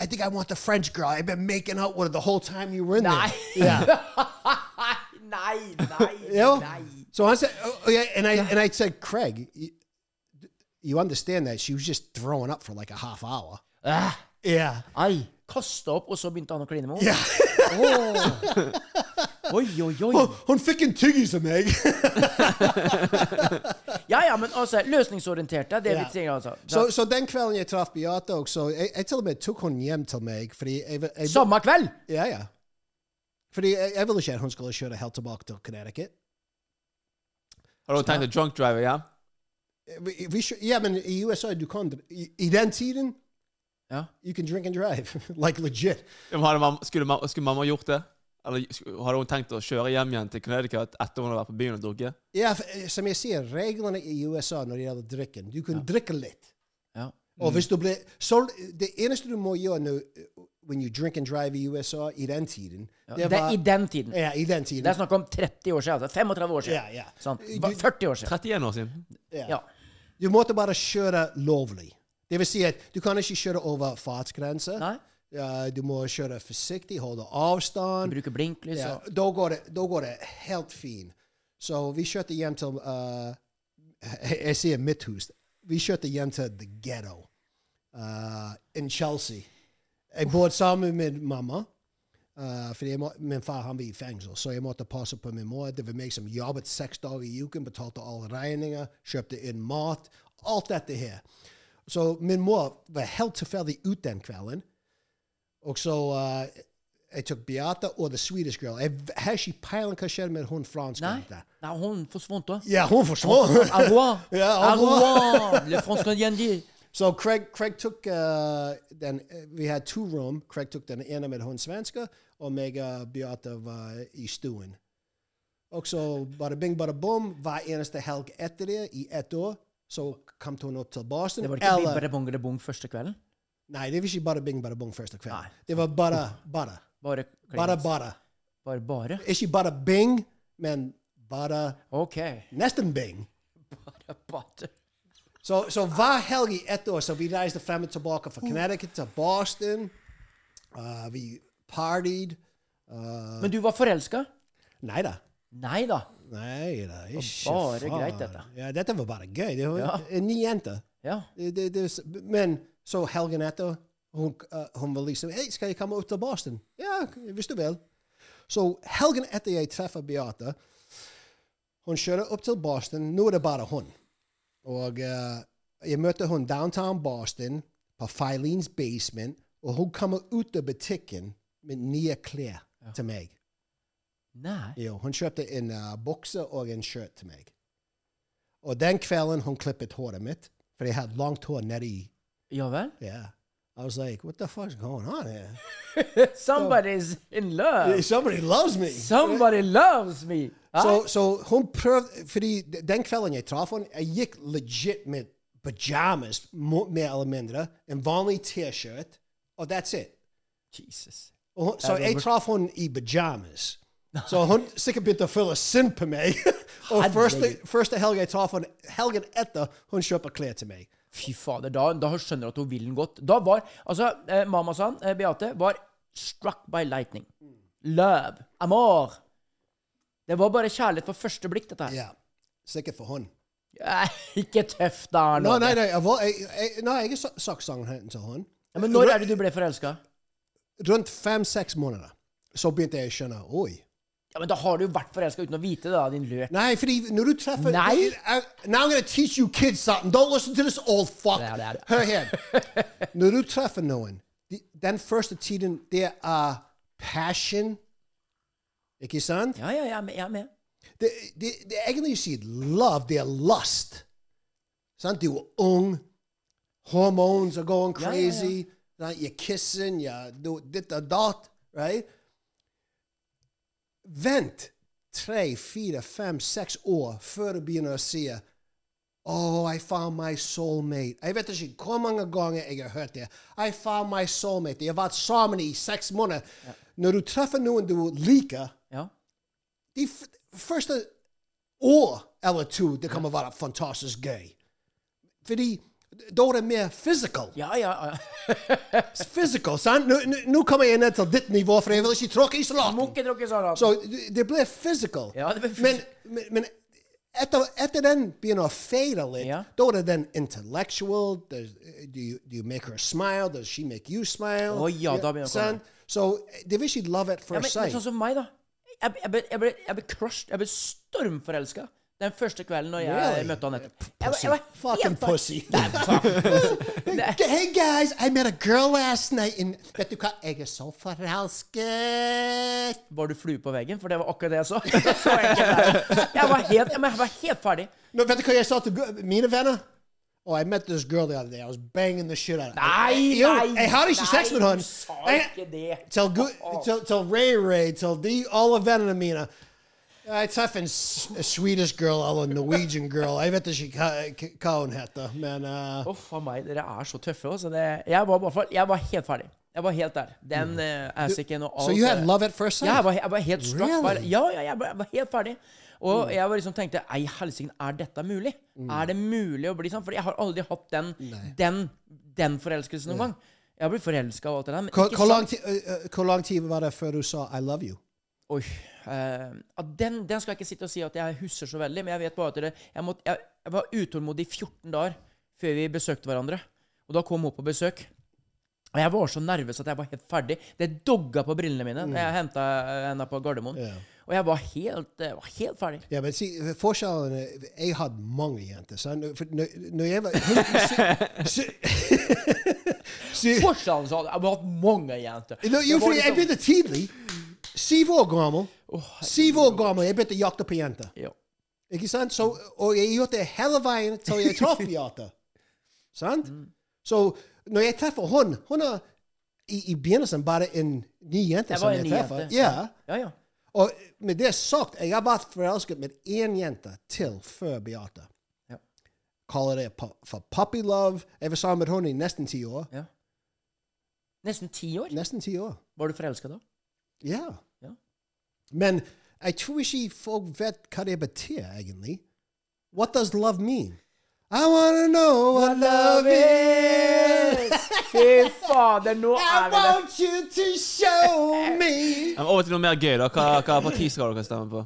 [SPEAKER 1] I think I want the French girl. I've been making out with her the whole time you were in
[SPEAKER 2] Nei.
[SPEAKER 1] there. Yeah.
[SPEAKER 2] Nei, nei,
[SPEAKER 1] You know?
[SPEAKER 2] nei.
[SPEAKER 1] So I said, oh, yeah, and I and I said, Craig, you, you understand that she was just throwing up for like a half hour.
[SPEAKER 2] Ah,
[SPEAKER 1] Yeah.
[SPEAKER 2] Ai. Kasta opp, og så begynte han å kline med henne?
[SPEAKER 1] Yeah.
[SPEAKER 2] Åh. Oi, oi, oi.
[SPEAKER 1] Oh, On freaking Tiggy's a meg.
[SPEAKER 2] Ja, ja, men altså, løsningsorienterte, det er
[SPEAKER 1] Ja.
[SPEAKER 2] litt ting, altså.
[SPEAKER 1] Så, så den kvelden jeg traff Beate også, jeg, jeg til og med tok hun hjem til meg. fordi jeg, jeg,
[SPEAKER 2] Samme kveld!
[SPEAKER 1] Ja, ja. Fordi jeg, jeg ville ikke at hun skulle kjøre helt tilbake til Connecticut.
[SPEAKER 3] Har du tenkt å drunk driver, ja?
[SPEAKER 1] Vi, vi, kjø- ja, men i e, USA, du kan I, i den tiden
[SPEAKER 2] Ja.
[SPEAKER 1] You can drink and drive. like legit.
[SPEAKER 3] Ja, men hadde mam- Skulle, mam- skulle mamma gjort det? Eller sku- hadde hun tenkt å kjøre hjem igjen til Connecticut etter hun hadde vært på byen og drukket?
[SPEAKER 1] Ja, f- eh, som jeg sier, reglene i USA når det gjelder drikken Du kan drikke litt.
[SPEAKER 2] ja. Mm.
[SPEAKER 1] Og hvis du blir så, Det eneste du må gjøre nå eh, when you drink and drive i USA i den tiden
[SPEAKER 2] Det er i den tiden.
[SPEAKER 1] Ja, i den tiden.
[SPEAKER 2] Det er snakk om 30 år siden, altså. 35 år siden.
[SPEAKER 1] Ja, ja.
[SPEAKER 2] Sant?
[SPEAKER 1] Du-
[SPEAKER 2] Hva- 40 år siden.
[SPEAKER 3] 31 år siden.
[SPEAKER 2] Ja.
[SPEAKER 1] Du måtte bare kjøre lovlig. Det vil si at du kan ikke kjøre over fartsgrenser.
[SPEAKER 2] Nei.
[SPEAKER 1] Ja, du må kjøre forsiktig, holde avstand.
[SPEAKER 2] Bruker blinklys
[SPEAKER 1] Ja,
[SPEAKER 2] og
[SPEAKER 1] da, går det, da går det helt fint. Så vi kjørte hjem til eh, jeg, jeg sier mitt hus. Vi kjørte hjem til The Ghetto eh, in Chelsea. Jeg bodde sammen med mamma. eh, fordi jeg må, min far han var i fengsel, så jeg måtte passe på min mor. Det var meg som jobbet seks dager i uken, betalte alle regninger, kjøpte inn mat. Alt dette her. Så min mor var helt tilfeldig ute den kvelden. Og så eh, jeg tok Beata og The Swedish Girl. Jeg v- har ikke peiling hva skjedde med hun franske
[SPEAKER 2] Nei.
[SPEAKER 1] jenta.
[SPEAKER 2] Nei, hun forsvant da.
[SPEAKER 1] Ja, hun forsvant.
[SPEAKER 2] Au revoir!
[SPEAKER 1] Ja, au
[SPEAKER 2] Au
[SPEAKER 1] revoir.
[SPEAKER 2] revoir! Le fransk canadien.
[SPEAKER 1] Så Craig, Craig tok eh, den eh, Vi hadde to rom. Craig tok den ene med hun svenske, og meg og Beate var i stuen. Og så bare bing, bare bom, hver eneste helg etter det, i ett år, så kom hun opp til Boston.
[SPEAKER 2] Det var ikke
[SPEAKER 1] eller-
[SPEAKER 2] Bing Bada Bong Bada Bong første kvelden?
[SPEAKER 1] Nei, det var ikke bare bing, bare bong første kveld.
[SPEAKER 2] Nei.
[SPEAKER 1] Det var bare, bare.
[SPEAKER 2] Bare
[SPEAKER 1] Bare,
[SPEAKER 2] Klingons.
[SPEAKER 1] bare.
[SPEAKER 2] Bare, bare?
[SPEAKER 1] Ikke bare bing, men bare
[SPEAKER 2] OK.
[SPEAKER 1] nesten bing.
[SPEAKER 2] Bare, bare.
[SPEAKER 1] Så, så hver helg i ett år, så vi reiste frem og tilbake fra Connecticut til Boston. Uh, vi partied. Uh,
[SPEAKER 2] Men du var forelska?
[SPEAKER 1] nei da.
[SPEAKER 2] Nei da.
[SPEAKER 1] Nei da. Ikke
[SPEAKER 2] bare
[SPEAKER 1] faen.
[SPEAKER 2] greit, dette.
[SPEAKER 1] Ja, dette var bare gøy. Det var
[SPEAKER 2] Ja.
[SPEAKER 1] en ny jente.
[SPEAKER 2] Ja.
[SPEAKER 1] Det, det, det, men så helgen etter, hun, uh, hun var liksom Hei, skal jeg komme ut til Boston? Ja, hvis du vil. Så helgen etter jeg treffer Beate, hun kjører opp til Boston. Nå er det bare hun. Og eh, jeg møter hun downtown Boston, på Filene's basement, og hun kommer ut av butikken med nye klær til meg.
[SPEAKER 2] Nei.
[SPEAKER 1] Jo, hun kjøpte en uh, bukse og en skjørt til meg. Og den kvelden hun klippet håret mitt, for jeg hadde langt hår nedi
[SPEAKER 2] Ja vel?
[SPEAKER 1] Yeah. I was like, what the fuck's going on here?
[SPEAKER 2] Somebody's in love!
[SPEAKER 1] Somebody loves me.
[SPEAKER 2] Somebody loves me! Hæ?
[SPEAKER 1] Så, så hun prøvde, fordi den kvelden jeg traff henne, jeg gikk legit med pajamas, mo- mer eller mindre, en vanlig T-shirt, og that's it.
[SPEAKER 2] Jesus.
[SPEAKER 1] Og hun, så
[SPEAKER 2] Ja,
[SPEAKER 1] jeg
[SPEAKER 2] Robert.
[SPEAKER 1] traff henne i pajamas. Så hun sikkert begynte å føle synd på meg. og første, første helgen jeg traff henne, helgen etter, hun kjøper klær til meg.
[SPEAKER 2] Fy fader, da, da skjønner du at hun vil den godt. Da var Altså, eh, mamma sa, eh, Beate, var struck by lightning. Love. Amor. Det var bare kjærlighet på første blikk, dette her.
[SPEAKER 1] Ja, sikkert for henne.
[SPEAKER 2] Eh, Ikke tøff, da.
[SPEAKER 1] Nei,
[SPEAKER 2] Arnold.
[SPEAKER 1] nei, nei, jeg, var- jeg, jeg, nei, jeg er har ikke sagt sangen til henne.
[SPEAKER 2] Ja, men når er det du ble forelska?
[SPEAKER 1] rundt fem-seks måneder så begynte jeg å skjønne Oi.
[SPEAKER 2] Ja, men da har du jo vært forelska uten å vite det, da, din løk.
[SPEAKER 1] Nei, fordi når du treffer
[SPEAKER 2] Nei.
[SPEAKER 1] I- Now I'm gonna teach you kids something. Don't listen to this old fuck.
[SPEAKER 2] Ja, det er det.
[SPEAKER 1] Hør her. Når du treffer noen, de- den første tiden, det er passion. Ikke sant?
[SPEAKER 2] Ja, ja, jeg er med. Jeg er med.
[SPEAKER 1] Det, det, det er egentlig å si love, det er lust. Sant? Du er ung, hormones are going
[SPEAKER 2] Ja, ja, ja.
[SPEAKER 1] crazy, sant? you're kissing, you're do- ditt og datt, right? Vent tre, fire, fem, seks år før du begynner å si Oh, I found my soulmate. Jeg vet ikke hvor mange ganger jeg har hørt det. I found my soulmate. Jeg har vært sammen i seks måneder. Når du treffer noen du liker,
[SPEAKER 2] Ja.
[SPEAKER 1] de f- uh, første år eller to, det kommer være fantastisk gøy. Fordi da er det mer physical.
[SPEAKER 2] Ja, ja, ja.
[SPEAKER 1] Physical, sant? Nå- Nå nå kommer jeg ned til ditt nivå, for jeg vil ikke tråkke i
[SPEAKER 2] Må
[SPEAKER 1] salaten.
[SPEAKER 2] ikke drukke sånn. da.
[SPEAKER 1] Så det- det blir physical.
[SPEAKER 2] Ja, det blir
[SPEAKER 1] men,
[SPEAKER 2] physical.
[SPEAKER 1] men, men etter, etter den begynner å fade litt,
[SPEAKER 2] Ja.
[SPEAKER 1] da er det den intellectual. Does, do, you, do you make her smile? Does she make you smile?
[SPEAKER 2] Å Oh, ja, da begynner det å
[SPEAKER 1] sant? Så det vil ikke love at
[SPEAKER 2] Ja,
[SPEAKER 1] first
[SPEAKER 2] men, men
[SPEAKER 1] sight.
[SPEAKER 2] sånn som meg, da. Jeg, jeg, ble, jeg, ble, jeg ble crushed. Jeg ble stormforelska den første kvelden når jeg
[SPEAKER 1] Really?
[SPEAKER 2] møtte han etter. Jeg, var-
[SPEAKER 1] Pussy.
[SPEAKER 2] jeg var
[SPEAKER 1] Fucking
[SPEAKER 2] helt-
[SPEAKER 1] pussy.
[SPEAKER 2] Nei, fuck.
[SPEAKER 1] Hey, hey guys, I met a girl last night in Vet du hva, jeg er så forelsket!
[SPEAKER 2] Var du flue på veggen? For det var akkurat det jeg så. så enkelt er det. jeg, var helt, jeg var helt ferdig.
[SPEAKER 1] Nå, vet du hva jeg sa til gu- mine venner? Oh, I met this girl the other day. I was banging the shit out of her.
[SPEAKER 2] Nei,
[SPEAKER 1] Jo,
[SPEAKER 2] nei,
[SPEAKER 1] Jeg hadde ikke sex
[SPEAKER 2] nei,
[SPEAKER 1] med henne.
[SPEAKER 2] du sa
[SPEAKER 1] Jeg-
[SPEAKER 2] ikke det.
[SPEAKER 1] Til, gu- til, til Ray Ray, til de, alle vennene mine. Jeg treffer en Uh, s- a Swedish girl eller en Norwegian girl. Jeg vet ikke hva- k- hva hun heter, men uh,
[SPEAKER 2] Uff a meg, dere er så tøffe. Altså. Det, jeg, var, i hvert fall- jeg var helt ferdig. Jeg var helt der. Den eh, assiken og alt.
[SPEAKER 1] So Mm. you had
[SPEAKER 2] det-
[SPEAKER 1] love at first
[SPEAKER 2] Ja, jeg
[SPEAKER 1] sight?
[SPEAKER 2] var, jeg var helt struck.
[SPEAKER 1] Really? Mm.
[SPEAKER 2] Bare, ja, ja, jeg var, jeg var helt ferdig. Og jeg var liksom tenkte Ei helsike, er dette mulig? Er det mulig å bli sånn? For jeg har aldri hatt den, den, den forelskelsen noen gang. Jeg har blitt forelska og alt det der. Men
[SPEAKER 1] Hvor
[SPEAKER 2] ikke
[SPEAKER 1] hvor lang
[SPEAKER 2] sånn.
[SPEAKER 1] ti- uh, uh, hvor lang tid var det før du sa 'I love you'?
[SPEAKER 2] Oi, eh, ja, den, den skal jeg ikke sitte og si at jeg husker så veldig, men jeg vet bare at det, jeg, måtte, jeg, jeg var utålmodig i 14 dager før vi besøkte hverandre. Og da kom hun på besøk. Og jeg var så nervøs at jeg var helt ferdig. Det dogga på brillene mine da jeg henta henne på Gardermoen. Og jeg var helt, eh, var helt ferdig.
[SPEAKER 1] Ja, men si, forskjellen er, Jeg hadde mange jenter. Sant? For når, når jeg var hun- sy- sy- sy-
[SPEAKER 2] Forskjellen så hadde jeg hatt mange jenter.
[SPEAKER 1] Nå, Jo,
[SPEAKER 2] Det var
[SPEAKER 1] fordi jeg
[SPEAKER 2] liksom-
[SPEAKER 1] begynte tidlig. Syv år gammel. Syv år gammel, jeg begynte å jakte på jenter.
[SPEAKER 2] Ja.
[SPEAKER 1] Ikke sant? Så, og jeg gjorde det hele veien til jeg traff Beate. sant?
[SPEAKER 2] Mm.
[SPEAKER 1] Så når jeg treffer hun, hun er i, i begynnelsen bare en ny jente
[SPEAKER 2] Jeg
[SPEAKER 1] som
[SPEAKER 2] var en
[SPEAKER 1] jeg
[SPEAKER 2] ny
[SPEAKER 1] treffer.
[SPEAKER 2] jente.
[SPEAKER 1] Ja.
[SPEAKER 2] Ja, ja.
[SPEAKER 1] Og med det sagt, jeg har vært forelsket med én jente til før Beate.
[SPEAKER 2] Ja.
[SPEAKER 1] Kaller det pu- for puppy love. Jeg var sammen med henne i nesten ti år.
[SPEAKER 2] Ja. Nesten ti år?
[SPEAKER 1] Nesten ti år.
[SPEAKER 2] Var du forelska da?
[SPEAKER 1] Ja.
[SPEAKER 2] Ja.
[SPEAKER 1] Men jeg tror ikke folk vet hva det betyr, egentlig. What does love mean? I wanna know what love is.
[SPEAKER 4] Fy fader, nå
[SPEAKER 1] I
[SPEAKER 4] er vi der.
[SPEAKER 1] want you to show me.
[SPEAKER 3] Men over til noe mer gøy, da. Hva, hva parti skal dere stemme på?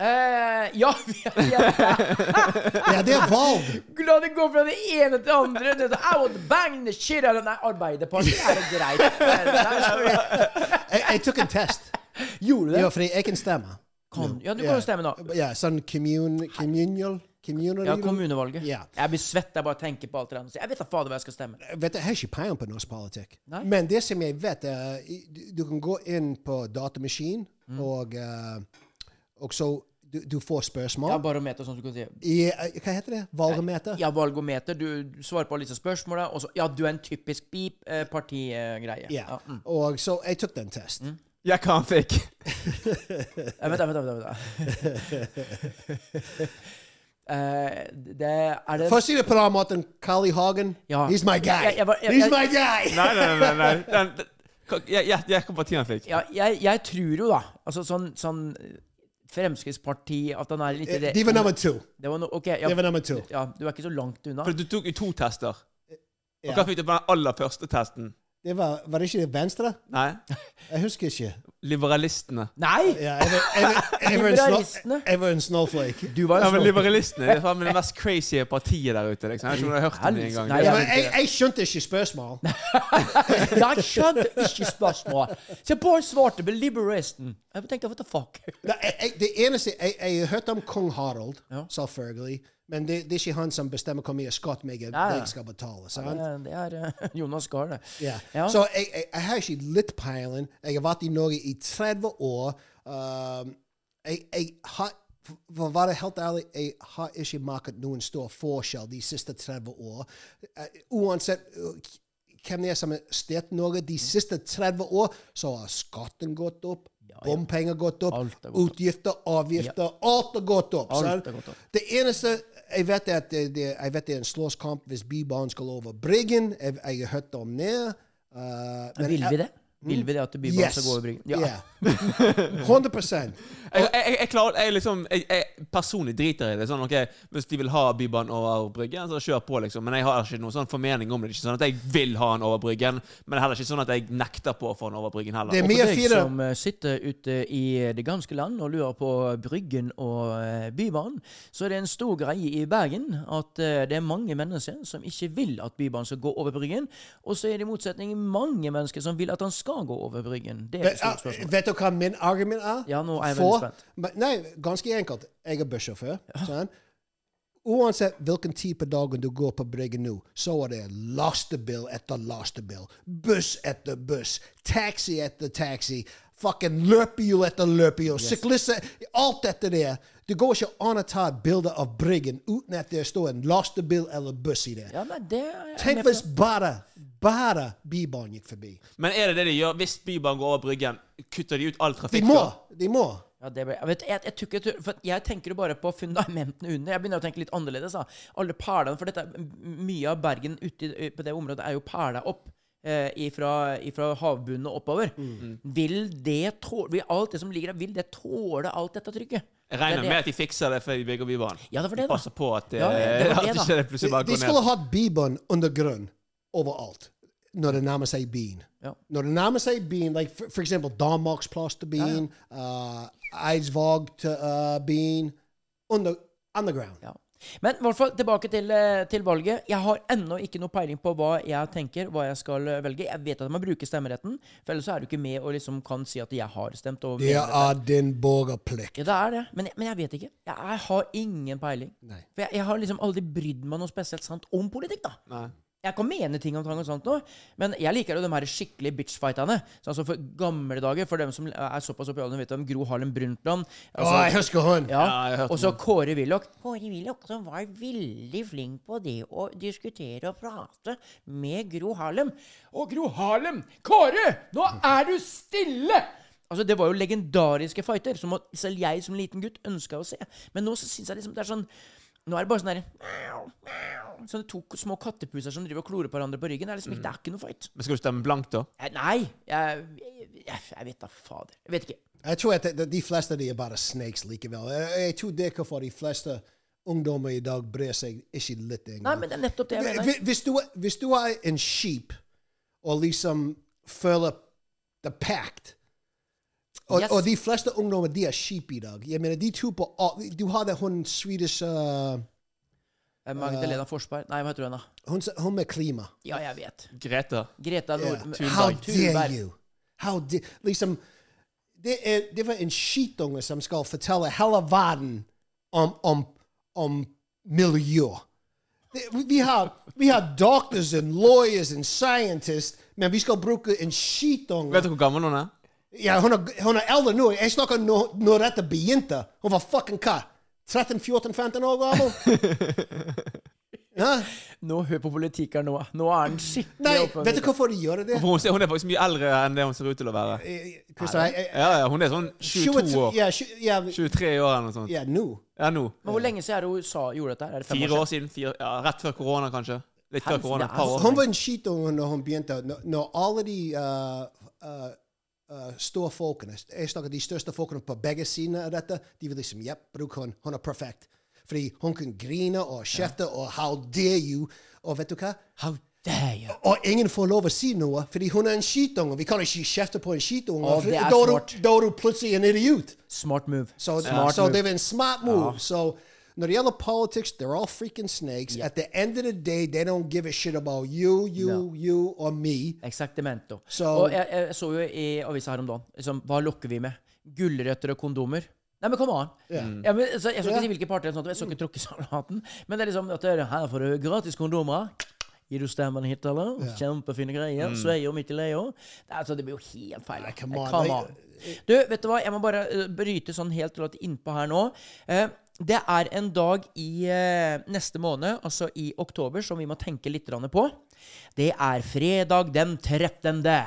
[SPEAKER 4] Eh, ja, vi er, vi er
[SPEAKER 1] Ja, det er valg.
[SPEAKER 4] La det gå fra det ene til det andre. Det er, I would bang the shit out of Nei, Arbeiderpartiet er det greit. Der- der skal vi-
[SPEAKER 1] Jeg, jeg tok en test.
[SPEAKER 4] Gjorde du det?
[SPEAKER 1] Ja, fordi jeg kan stemme.
[SPEAKER 2] Kan, ja, du
[SPEAKER 1] Ja.
[SPEAKER 2] kan jo stemme nå.
[SPEAKER 1] Ja, sånn commune, communal communal
[SPEAKER 2] Ja, kommunevalget.
[SPEAKER 1] Ja.
[SPEAKER 2] Jeg blir svett jeg bare tenker på alt det der. Jeg vet da fader hva jeg skal stemme.
[SPEAKER 1] Vet du, Jeg har ikke peiling på norsk politikk.
[SPEAKER 2] Nei.
[SPEAKER 1] Men det som jeg vet, er du- du kan gå inn på datamaskin,
[SPEAKER 2] Mm.
[SPEAKER 1] og, eh, og så du, du får spørsmål.
[SPEAKER 2] Jeg har barometer, sånn som du kan si.
[SPEAKER 1] I, eh, hva heter det? Valgometer?
[SPEAKER 2] Ja, valgometer. Du du svarer på alle disse spørsmålene, og så Ja, du er en typisk eh, beep-partigreie.
[SPEAKER 1] Ja.
[SPEAKER 2] mm.
[SPEAKER 1] Og så jeg tok den testen.
[SPEAKER 3] Jeg kan fikk.
[SPEAKER 2] Eh, Vent, da, vent, da, vent, da. Eh, det er det
[SPEAKER 1] For å si det på den måten, Carl I. Hagen,
[SPEAKER 2] Ja.
[SPEAKER 1] he's my guy!
[SPEAKER 2] Jeg- jeg var- jeg-
[SPEAKER 1] he's
[SPEAKER 2] jeg-
[SPEAKER 1] my guy!
[SPEAKER 3] Nei, nei, nei. nei. Den, den, hva- jeg- jeg- jeg hva partiet han fikk.
[SPEAKER 2] ja, jeg, jeg tror jo, da Altså sånn, sånn Fremskrittspartiet At han er litt i det
[SPEAKER 1] Eh, De var nummer to.
[SPEAKER 2] Det var no, ok, ja,
[SPEAKER 1] De var nummer to.
[SPEAKER 2] ja, du er ikke så langt unna.
[SPEAKER 3] For du tok jo to tester. Og
[SPEAKER 1] Ja.
[SPEAKER 3] hva fikk du på den aller første testen?
[SPEAKER 1] Det var, var det ikke det Venstre?
[SPEAKER 3] Nei?
[SPEAKER 1] Jeg husker ikke.
[SPEAKER 3] Liberalistene.
[SPEAKER 2] Nei!
[SPEAKER 1] Ja, jeg, var- jeg, var- jeg, var en
[SPEAKER 2] Liberalistene.
[SPEAKER 1] sno- jeg var en snowflake.
[SPEAKER 2] Du var
[SPEAKER 3] Ja,
[SPEAKER 2] jo
[SPEAKER 1] Altså.
[SPEAKER 3] men
[SPEAKER 2] sånn
[SPEAKER 3] Liberalistene det er faen meg det mest crazy partiet der ute. liksom. Jeg har ikke om du har hørt om det engang.
[SPEAKER 2] Nei,
[SPEAKER 1] Ja,
[SPEAKER 2] jeg-
[SPEAKER 1] men jeg, jeg skjønte ikke spørsmål.
[SPEAKER 2] Jeg skjønte ikke spørsmål. Så jeg bare svarte med liberalisten. Jeg tenkte what the fuck?
[SPEAKER 1] Nei, jeg, jeg, det eneste, jeg, jeg hørte om kong Harald,
[SPEAKER 2] Ja.
[SPEAKER 1] selvfølgelig. Men det, det er ikke han som bestemmer hvor mye skatt meg og
[SPEAKER 2] Ja, ja.
[SPEAKER 1] deg skal betale.
[SPEAKER 2] Det
[SPEAKER 1] sant?
[SPEAKER 2] er, det er eh, Jonas Gahr, det.
[SPEAKER 1] Ja.
[SPEAKER 2] Ja.
[SPEAKER 1] Så jeg, jeg, jeg har ikke litt peiling. Jeg har vært i Norge i 30 år. Um, jeg, jeg har, for å være helt ærlig, jeg har ikke merket noen stor forskjell de siste 30 år. Eh, uansett eh, hvem det er som har styrt Norge de siste 30 år, så har skatten gått opp. Bompenger gått opp,
[SPEAKER 2] Alt har gått opp.
[SPEAKER 1] utgifter, avgifter Alt har gått opp.
[SPEAKER 2] Alt
[SPEAKER 1] sant?
[SPEAKER 2] har gått opp.
[SPEAKER 1] Det eneste jeg vet, er at det, det, jeg vet det er en slåsskamp hvis Bybanen skal over Bryggen. Jeg, jeg har hørt om det. Uh, men-
[SPEAKER 2] Vil vi det?
[SPEAKER 1] Mm.
[SPEAKER 2] Vil vi det at Bybanen skal gå over Bryggen? Ja.
[SPEAKER 1] Yeah. 100
[SPEAKER 3] Jeg, jeg, jeg, klarer, jeg, liksom, jeg, jeg personlig driter i det. sånn, ok, Hvis de vil ha Bybanen over Bryggen, så kjør på, liksom. Men jeg har ikke noen sånn formening om det. Det er ikke sånn at jeg vil ha den over Bryggen, men det er heller ikke sånn at jeg nekter på å få den over Bryggen heller.
[SPEAKER 1] Det er
[SPEAKER 2] Og
[SPEAKER 1] mye
[SPEAKER 2] for deg
[SPEAKER 1] finere
[SPEAKER 2] som eh, sitter ute i eh, det ganske land og lurer på Bryggen og eh, Bybanen, så er det en stor greie i Bergen at eh, det er mange mennesker som ikke vil at Bybanen skal gå over Bryggen, og så er det i motsetning mange mennesker som vil at han skal gå over Bryggen. Det er et stort
[SPEAKER 1] Vet,
[SPEAKER 2] spørsmål.
[SPEAKER 1] vet du hva min argument er?
[SPEAKER 2] Ja, nå er jeg
[SPEAKER 1] For-
[SPEAKER 2] veldig spent.
[SPEAKER 1] Men- Nei, ganske enkelt. Jeg er bussjåfør. sant? Uansett hvilken tid på dagen du går på Bryggen nå, så er det lastebil etter lastebil. Buss etter buss. Taxi etter taxi. Fucking løpehjul etter løpehjul. Syklister Alt dette der. Det går ikke an å ta et bilde av Bryggen uten at det står en lastebil eller buss i det.
[SPEAKER 2] Ja, nei, det er jeg
[SPEAKER 1] Tenk
[SPEAKER 2] med på.
[SPEAKER 1] hvis bare, bare Bybanen gikk forbi.
[SPEAKER 3] Men er det det de gjør? Hvis Bybanen går over Bryggen, kutter de ut all
[SPEAKER 1] De
[SPEAKER 3] trafikk?
[SPEAKER 1] må!
[SPEAKER 3] da?
[SPEAKER 1] De må.
[SPEAKER 2] Ja, det ble, jeg, vet, jeg, jeg, tror ikke- jeg, tror- for at jeg tenker jo bare på fundamentene under. Jeg begynner å tenke litt annerledes. Da. Alle perlene, for dette, er- m- mye av Bergen ute i- på det området er jo perla opp. Eh, ifra, ifra havbunnen og oppover.
[SPEAKER 1] Mm.
[SPEAKER 2] Vil det tåle vil alt det som ligger der, vil det tåle alt dette trykket?
[SPEAKER 3] Jeg regner
[SPEAKER 2] Det er det-
[SPEAKER 3] med at de fikser det før de bygger Bybanen.
[SPEAKER 2] Ja, det var
[SPEAKER 3] De
[SPEAKER 2] det, da.
[SPEAKER 3] passer på at, eh,
[SPEAKER 2] Ja, det var
[SPEAKER 3] at
[SPEAKER 2] det, da.
[SPEAKER 3] ikke det plutselig
[SPEAKER 1] De,
[SPEAKER 3] bare
[SPEAKER 1] de
[SPEAKER 3] går
[SPEAKER 1] skulle
[SPEAKER 3] ned.
[SPEAKER 1] hatt bibelen under grunn overalt når det nærmer seg byen.
[SPEAKER 2] Ja.
[SPEAKER 1] Når det nærmer seg byen, like for, for eksempel Danmarksplass til byen, uh, Eidsvåg til uh, byen under, Underground.
[SPEAKER 2] Ja. Men i hvert fall tilbake til, eh, til valget. Jeg har ennå ikke noe peiling på hva jeg tenker, hva jeg skal eh, velge. Jeg vet at jeg må bruke stemmeretten, for ellers så er du ikke med og liksom kan si at jeg har stemt. Og
[SPEAKER 1] Det
[SPEAKER 2] mener dette.
[SPEAKER 1] er din borgerplikt.
[SPEAKER 2] Ja, det er det. Men, jeg- men jeg vet ikke. Jeg, jeg har ingen peiling.
[SPEAKER 1] Nei.
[SPEAKER 2] For jeg, jeg har liksom aldri brydd meg noe spesielt sant om politikk, da.
[SPEAKER 3] Nei.
[SPEAKER 2] Jeg kan mene ting om tang og sånt nå, men jeg liker jo de her skikkelige bitchfightene. Så altså for gamle dager, for dem som er såpass oppi alderen, vet du om Gro Harlem Brundtland.
[SPEAKER 1] Å,
[SPEAKER 2] Altså,
[SPEAKER 1] jeg husker hun!
[SPEAKER 3] Ja, jeg
[SPEAKER 2] ja,
[SPEAKER 3] har hørt
[SPEAKER 2] og så Kåre Willoch. Kåre Willoch som var veldig flink på det å diskutere og prate med Gro Harlem. Og Gro Harlem! Kåre! Nå er du stille! Altså, det var jo legendariske fighter, som at selv jeg som liten gutt ønska å se. Men nå så syns jeg liksom det er sånn Nå er det bare sånn derre Sånne to små kattepuser som driver og klorer på hverandre på ryggen. Det er liksom
[SPEAKER 3] Mm.
[SPEAKER 2] ikke, det er ikke noe fight.
[SPEAKER 3] Men skal du stemme blankt, da?
[SPEAKER 2] Eh, Nei, jeg, jeg, jeg vet da fader. Jeg vet ikke.
[SPEAKER 1] Jeg tror at de, de fleste de er bare snakes likevel. Jeg, jeg tror det er hvorfor de fleste ungdommer i dag brer seg ikke litt
[SPEAKER 2] Nei,
[SPEAKER 1] engang.
[SPEAKER 2] men det er nettopp det jeg
[SPEAKER 1] Hvi-
[SPEAKER 2] mener.
[SPEAKER 1] hvi- Hvis, du- hvis du er en sheep og liksom føler the pact og,
[SPEAKER 2] Yes.
[SPEAKER 1] og de fleste ungdommer de er sheep i dag. Jeg mener, de tror på alt. Du har det hun Swedish uh,
[SPEAKER 2] Eh, Magdalena Forsberg. Nei, hva heter hun, da?
[SPEAKER 1] hun, s- hun med klima.
[SPEAKER 2] Ja, jeg vet.
[SPEAKER 3] Greta.
[SPEAKER 2] Greta Nord...
[SPEAKER 1] Yeah.
[SPEAKER 2] Thunberg.
[SPEAKER 1] How dare
[SPEAKER 2] Thunberg.
[SPEAKER 1] you? How dare Liksom, det, er, det var en skitunge som skal fortelle hele verden om, om, om miljø. Det, vi- vi, har, vi har doctors and lawyers and scientists, men vi skal bruke en skitunge
[SPEAKER 3] Vet du hvor gammel hun er?
[SPEAKER 1] Ja, hun er, hun er eldre nå. Jeg snakker nå når dette begynte. Hun var fucking hva? 13-14-15 år gammel? Hæ?
[SPEAKER 2] Nå hør på politikk her nå. Nå er han skikkelig
[SPEAKER 1] Nei,
[SPEAKER 2] oppe-
[SPEAKER 1] vet du hvorfor de gjør det?
[SPEAKER 3] For hun, ser- hun er faktisk mye eldre enn det hun ser ut til å være.
[SPEAKER 1] Christer, jeg- jeg-
[SPEAKER 3] Ja, ja, Hun er sånn 22 år.
[SPEAKER 1] Ja, tju- ja,
[SPEAKER 3] 23 år eller noe sånt.
[SPEAKER 1] Ja, nå.
[SPEAKER 3] Ja, nå.
[SPEAKER 2] Men hvor lenge siden er det USA gjorde dette? her? Er det fem
[SPEAKER 3] Fire år siden. Fire, ja, rett før korona, kanskje. Litt før
[SPEAKER 2] Helvete,
[SPEAKER 3] korona.
[SPEAKER 2] det
[SPEAKER 3] Et
[SPEAKER 2] er
[SPEAKER 3] par år.
[SPEAKER 1] Hun var en skitunge når hun begynte. Når, når alle de uh, uh, uh, store folkene Jeg snakker de største folkene på begge sider av dette. De var liksom Jepp, bruk hun. Hun er perfekt. Fordi hun kan grine og kjefte og How dare you? Og vet du hva?
[SPEAKER 2] How dare you?
[SPEAKER 1] Og ingen får lov å si noe, fordi hun er en skitunge. Vi kan ikke kjefte på en skitunge.
[SPEAKER 2] Å,
[SPEAKER 1] for
[SPEAKER 2] det
[SPEAKER 1] da
[SPEAKER 2] er
[SPEAKER 1] du-
[SPEAKER 2] smart.
[SPEAKER 1] Da er du plutselig en idiot.
[SPEAKER 2] Smart move.
[SPEAKER 1] So,
[SPEAKER 2] Smart
[SPEAKER 1] so
[SPEAKER 2] move.
[SPEAKER 1] they've been smart Uh-huh. move. So no, the other politics, they're all freaking snakes. At the end of the day, they don't give a shit about you, you,
[SPEAKER 2] No.
[SPEAKER 1] you, or me.
[SPEAKER 2] Exactamento.
[SPEAKER 1] Så-
[SPEAKER 2] Og jeg, jeg så jo i avisa her om dagen liksom, Hva lokker vi med? Gulrøtter og kondomer? Nei, men kom an! Ja, men, så, jeg skal ikke si hvilke parter, eller sånt, og jeg skal ikke tråkke salaten, men det er liksom at det er, her får du gratis kondomer. Gir du stemmen hit, eller? Kjempefine
[SPEAKER 3] Mm.
[SPEAKER 2] greier. Sveier midt i leia. Det, er altså, det blir jo helt feil.
[SPEAKER 1] Nei, come
[SPEAKER 2] Nei,
[SPEAKER 1] on.
[SPEAKER 2] Eh, come
[SPEAKER 1] Nei,
[SPEAKER 2] on. Du, vet du hva? Jeg må bare eh, bryte sånn helt og late innpå her nå. Eh, det er en dag i eh, neste måned, altså i oktober, som vi må tenke litt grann på. Det er fredag den 13.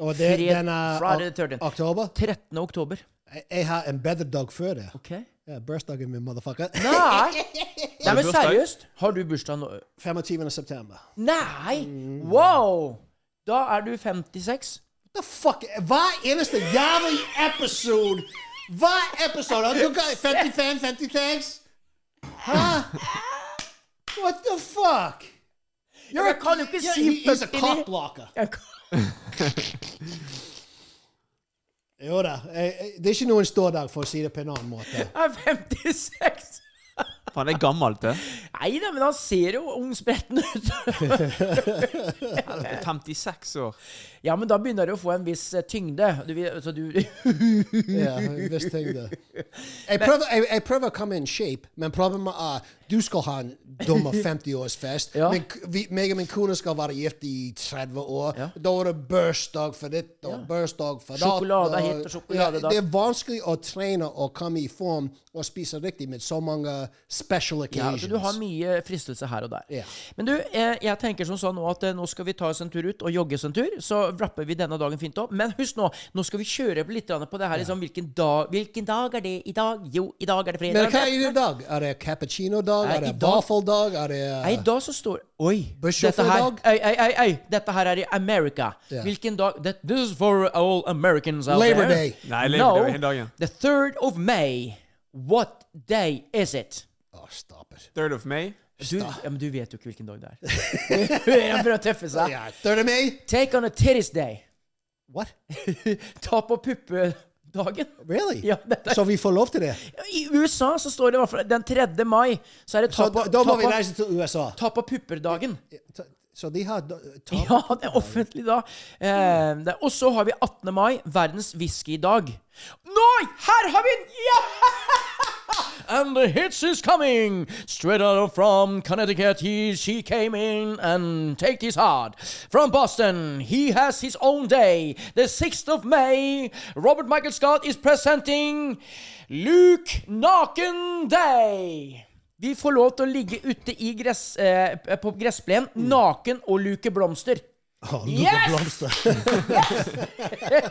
[SPEAKER 1] Or they,
[SPEAKER 2] Fred-
[SPEAKER 1] then uh,
[SPEAKER 2] Friday
[SPEAKER 1] Oc-
[SPEAKER 2] the 13th.
[SPEAKER 1] October.
[SPEAKER 2] 13. oktober.
[SPEAKER 1] I- I had and better dog further.
[SPEAKER 2] Ok?
[SPEAKER 1] Yeah, birthday in me, motherfucker.
[SPEAKER 2] Nei! Nei, men
[SPEAKER 3] bursdag?
[SPEAKER 2] seriøst! Har du bursdag nå?
[SPEAKER 1] 25 September.
[SPEAKER 2] Nei!
[SPEAKER 1] Mm.
[SPEAKER 2] Wow! Da er du 56.
[SPEAKER 1] The fuck? Why is the Yahweh episode? Why episode? Are you guys 50 fan, 50 thanks? Huh? what the fuck? You're
[SPEAKER 2] Jeg kan jo ikke
[SPEAKER 1] yeah,
[SPEAKER 2] si
[SPEAKER 1] he- he's a
[SPEAKER 2] 50.
[SPEAKER 1] cock blocker.
[SPEAKER 2] Jeg kan-
[SPEAKER 1] Jo da. eh, eh, Det er ikke noen stor dag, for å si det på en annen måte.
[SPEAKER 2] Jeg er 56!
[SPEAKER 3] Faen, det er gammelt, det.
[SPEAKER 2] Nei da, men han ser jo ungspretten ut.
[SPEAKER 3] 56 år.
[SPEAKER 2] Ja, men da begynner det å få en viss eh, tyngde. Du, vil- altså, du
[SPEAKER 1] Ja, visst ting det. Jeg prøver, jeg, jeg prøver å komme in shape, men problemet er du skal ha en dumme 50-årsfest.
[SPEAKER 2] Ja.
[SPEAKER 1] men k- vi- Meg og min kone skal være gift i 30 år.
[SPEAKER 2] Ja.
[SPEAKER 1] Da er det bursdag for ditt og bursdag for datt.
[SPEAKER 2] Sjokolade hit og sjokolade
[SPEAKER 1] ja, Det er vanskelig å trene og komme i form og spise riktig med så mange special
[SPEAKER 2] Ja,
[SPEAKER 1] occasions.
[SPEAKER 2] altså, du har mye fristelse her og der.
[SPEAKER 1] Ja.
[SPEAKER 2] Men du, eh, jeg tenker som sånn nå at eh, nå skal vi ta oss en tur ut og jogges en tur. Så wrapper vi denne dagen fint opp. Men husk nå, nå skal vi kjøre litt grann på det her. Liksom, hvilken, dag, hvilken dag er det i dag? Jo, i dag er det fredag.
[SPEAKER 1] men hva er det i dag? Er det cappuccino-dag?
[SPEAKER 2] Nei,
[SPEAKER 1] Er
[SPEAKER 2] i
[SPEAKER 1] det
[SPEAKER 2] dag-
[SPEAKER 1] vaffeldag? Er det Ah,
[SPEAKER 2] Nei, da så står Oi! Dette her,
[SPEAKER 1] Bussjåførdag?
[SPEAKER 2] ei, ei, ei, ei, dette her er i America.
[SPEAKER 1] Ja.
[SPEAKER 2] Hvilken dag that, This is for all Americans out
[SPEAKER 1] Labor
[SPEAKER 2] there.
[SPEAKER 1] Day.
[SPEAKER 3] Nei, Labor Day var hele dagen.
[SPEAKER 2] The 3rd of May. What day is it?
[SPEAKER 1] Åh, stop it.
[SPEAKER 3] 3rd of May.
[SPEAKER 2] Du, ja, men du vet jo ikke hvilken dag det er. Han prøver å tøffe seg.
[SPEAKER 1] Ja, 30 May?
[SPEAKER 2] Take on a titties day.
[SPEAKER 1] What?
[SPEAKER 2] Ta på puppedagen.
[SPEAKER 1] Really?
[SPEAKER 2] Ja, dette er-
[SPEAKER 1] Så vi får lov til det?
[SPEAKER 2] I USA så står det i hvert fall den 3. mai, så er det
[SPEAKER 1] Så
[SPEAKER 2] ta på,
[SPEAKER 1] da, da
[SPEAKER 2] ta
[SPEAKER 1] må vi
[SPEAKER 2] på,
[SPEAKER 1] reise til USA.
[SPEAKER 2] ta på pupper-dagen.
[SPEAKER 1] Ta- Så de har da- ta-
[SPEAKER 2] Ja, det er offentlig da. Eh, det- og så har vi 18. mai, verdens whiskydag. Nei, her har vi en Ja! And the hits is coming! Straight out from Connecticut, he, she came in and take this hard. From Boston, he has his own day. The 6th of May, Robert Michael Scott is presenting Luke Naken Day. Vi får lov til å ligge ute i gress, eh, på gressplen naken og luke blomster.
[SPEAKER 1] Oh, Luca
[SPEAKER 2] Yes!
[SPEAKER 1] Blomster.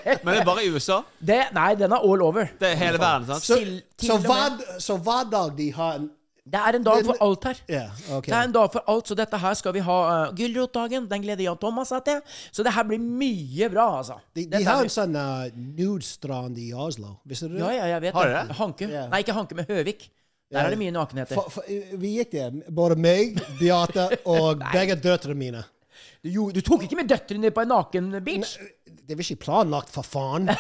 [SPEAKER 3] Men det er bare i USA.
[SPEAKER 2] Det, nei, den er all over.
[SPEAKER 3] Det er hele verden, sant?
[SPEAKER 1] Så,
[SPEAKER 2] Til- til
[SPEAKER 1] så,
[SPEAKER 2] og med-
[SPEAKER 1] hver, så hver dag de har en
[SPEAKER 2] Det er en dag for alt her.
[SPEAKER 1] Ja, ok.
[SPEAKER 2] Det er en dag for alt, så dette her skal vi ha uh, Gulrotdagen. Den gleder jeg og Thomas seg til. Så det her blir mye bra, altså.
[SPEAKER 1] De, de
[SPEAKER 2] Dette
[SPEAKER 1] har
[SPEAKER 2] er-
[SPEAKER 1] en sånn uh, nude-strand i Oslo. Visste du det?
[SPEAKER 2] Ja, ja, jeg vet
[SPEAKER 3] Har
[SPEAKER 2] det.
[SPEAKER 3] de det?
[SPEAKER 2] Hanke.
[SPEAKER 1] Ja.
[SPEAKER 2] Nei, ikke Hanke, men Høvik. Der er det mye nakenheter.
[SPEAKER 1] For, for, eh, vi gikk der. Både meg, Beate og begge døtrene mine.
[SPEAKER 2] Du, jo, du tok ikke med døtrene dine på en naken beach?
[SPEAKER 1] Det var ikke planlagt, for faen!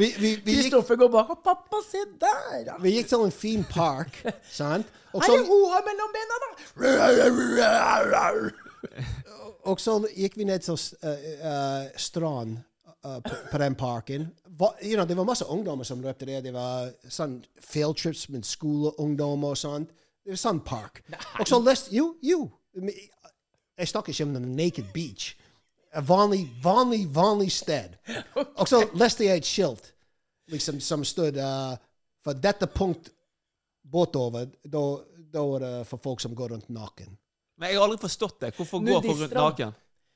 [SPEAKER 1] vi, vi, vi, gikk,
[SPEAKER 2] Kristoffer går bak og 'Pappa, se der!' da.
[SPEAKER 1] vi gikk til en fin park, sant? Og
[SPEAKER 2] Er det
[SPEAKER 1] så,
[SPEAKER 2] hoa mellom bena, da?
[SPEAKER 1] og så gikk vi ned til uh, uh, strand eh, på, på den parken. Va, you know, det var masse ungdommer som løpte der. Det var sånn field trips med skoleungdommer og sånt. Det var sånn park. Og så leste Jo, jo. men Jeg snakker ikke om den naked beach. Et vanlig, vanlig, vanlig sted. Og så leste jeg et skilt liksom, som stod eh, For dette punkt bortover, da da er det for folk som går rundt naken.
[SPEAKER 3] Men jeg har aldri forstått det. Hvorfor går folk rundt
[SPEAKER 2] Nudister.
[SPEAKER 3] naken?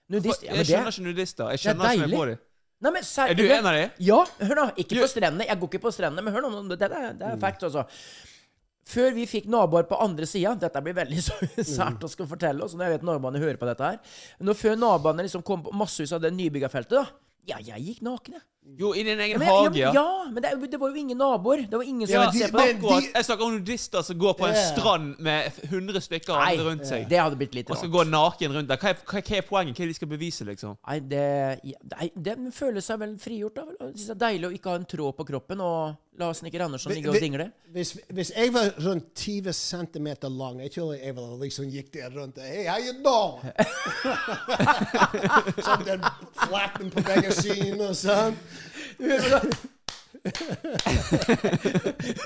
[SPEAKER 2] Nudist, ja, men
[SPEAKER 3] Jeg
[SPEAKER 2] det
[SPEAKER 3] skjønner ikke nudister. Jeg
[SPEAKER 2] er
[SPEAKER 3] skjønner ikke
[SPEAKER 2] deilig.
[SPEAKER 3] på dem.
[SPEAKER 2] Nei, men, ser,
[SPEAKER 3] Er du en av de?
[SPEAKER 2] Ja, hør nå. Ikke
[SPEAKER 3] Du- Mm.
[SPEAKER 2] på strendene. Jeg går ikke på strendene, men hør nå, nå, det, det, er- det er fact, altså. Før vi fikk naboer på andre sida Dette blir veldig så-
[SPEAKER 3] Mm.
[SPEAKER 2] sært å skal fortelle oss, når jeg vet naboene hører på dette her. Når før naboene liksom kom på massevis av det nybygga feltet, da. Ja, jeg gikk naken, jeg.
[SPEAKER 3] Jo, i din
[SPEAKER 2] Ja,
[SPEAKER 3] egen
[SPEAKER 2] men, ja,
[SPEAKER 3] hage,
[SPEAKER 2] men, ja, altså, men det, er jo- det var jo ingen naboer. Det var ingen som
[SPEAKER 1] Ja,
[SPEAKER 2] var
[SPEAKER 1] men de-
[SPEAKER 2] se på det.
[SPEAKER 1] men-
[SPEAKER 3] Akkurat.
[SPEAKER 1] de-
[SPEAKER 3] Jeg snakker om nudister som går på en
[SPEAKER 1] Ja.
[SPEAKER 3] strand med 100 stykker
[SPEAKER 2] Nei,
[SPEAKER 3] andre rundt seg.
[SPEAKER 2] det hadde blitt litt
[SPEAKER 3] Og skal
[SPEAKER 2] rart.
[SPEAKER 3] gå naken rundt der. Hva er, hva er- hva er poenget? Hva er det de skal bevise, liksom?
[SPEAKER 2] Nei, det, ja, nei, den føler seg vel frigjort, da. vel? Jeg synes det er deilig å ikke ha en tråd på kroppen og la Snekker Andersen ligge og
[SPEAKER 1] Vi-
[SPEAKER 2] dingle.
[SPEAKER 1] Hvis, hvis jeg var rundt 20 cm lang, jeg tror jeg ville liksom gikk der rundt og Hei, how you doing? sånn den flatten på begge sidene og sånn.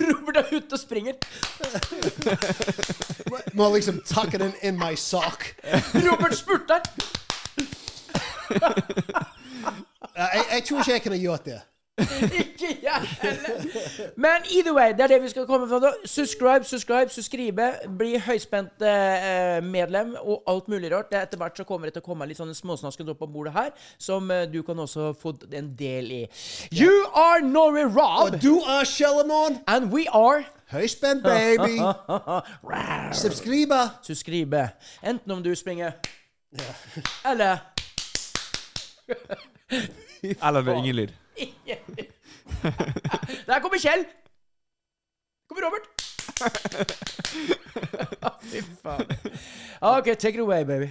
[SPEAKER 2] Robert er ute og springer.
[SPEAKER 1] Må liksom tucke den in my sock.
[SPEAKER 2] Robert spurter!
[SPEAKER 1] Eh, Jeg, jeg tror ikke jeg kunne gjort det.
[SPEAKER 2] Ikke jeg heller. Men either way, det er det vi skal komme fra nå. Subscribe, subscribe, subscribe. Bli høyspent eh, medlem og alt mulig rart. Det er etter hvert så kommer det til å komme litt sånne småsnasker opp på bordet her, som eh, du kan også få en del i. You are Nori
[SPEAKER 1] Og
[SPEAKER 2] Rob,
[SPEAKER 1] du er Shellamon.
[SPEAKER 2] and we are
[SPEAKER 1] Høyspent baby. Subscriber.
[SPEAKER 2] Subscribe. Enten om du springer eller
[SPEAKER 3] Eller det er ingen lyd.
[SPEAKER 2] Der kommer Kjell! Kommer Robert! Fy faen. OK, take it away, baby.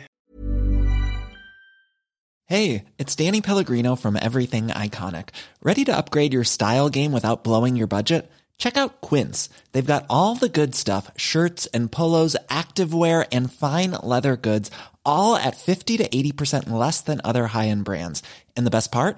[SPEAKER 4] Hey, it's Danny Pellegrino from Everything Iconic. Ready to upgrade your style game without blowing your budget? Check out Quince. They've got all the good stuff shirts and polos, activewear, and fine leather goods, all at 50 to 80% less than other high end brands. And the best part?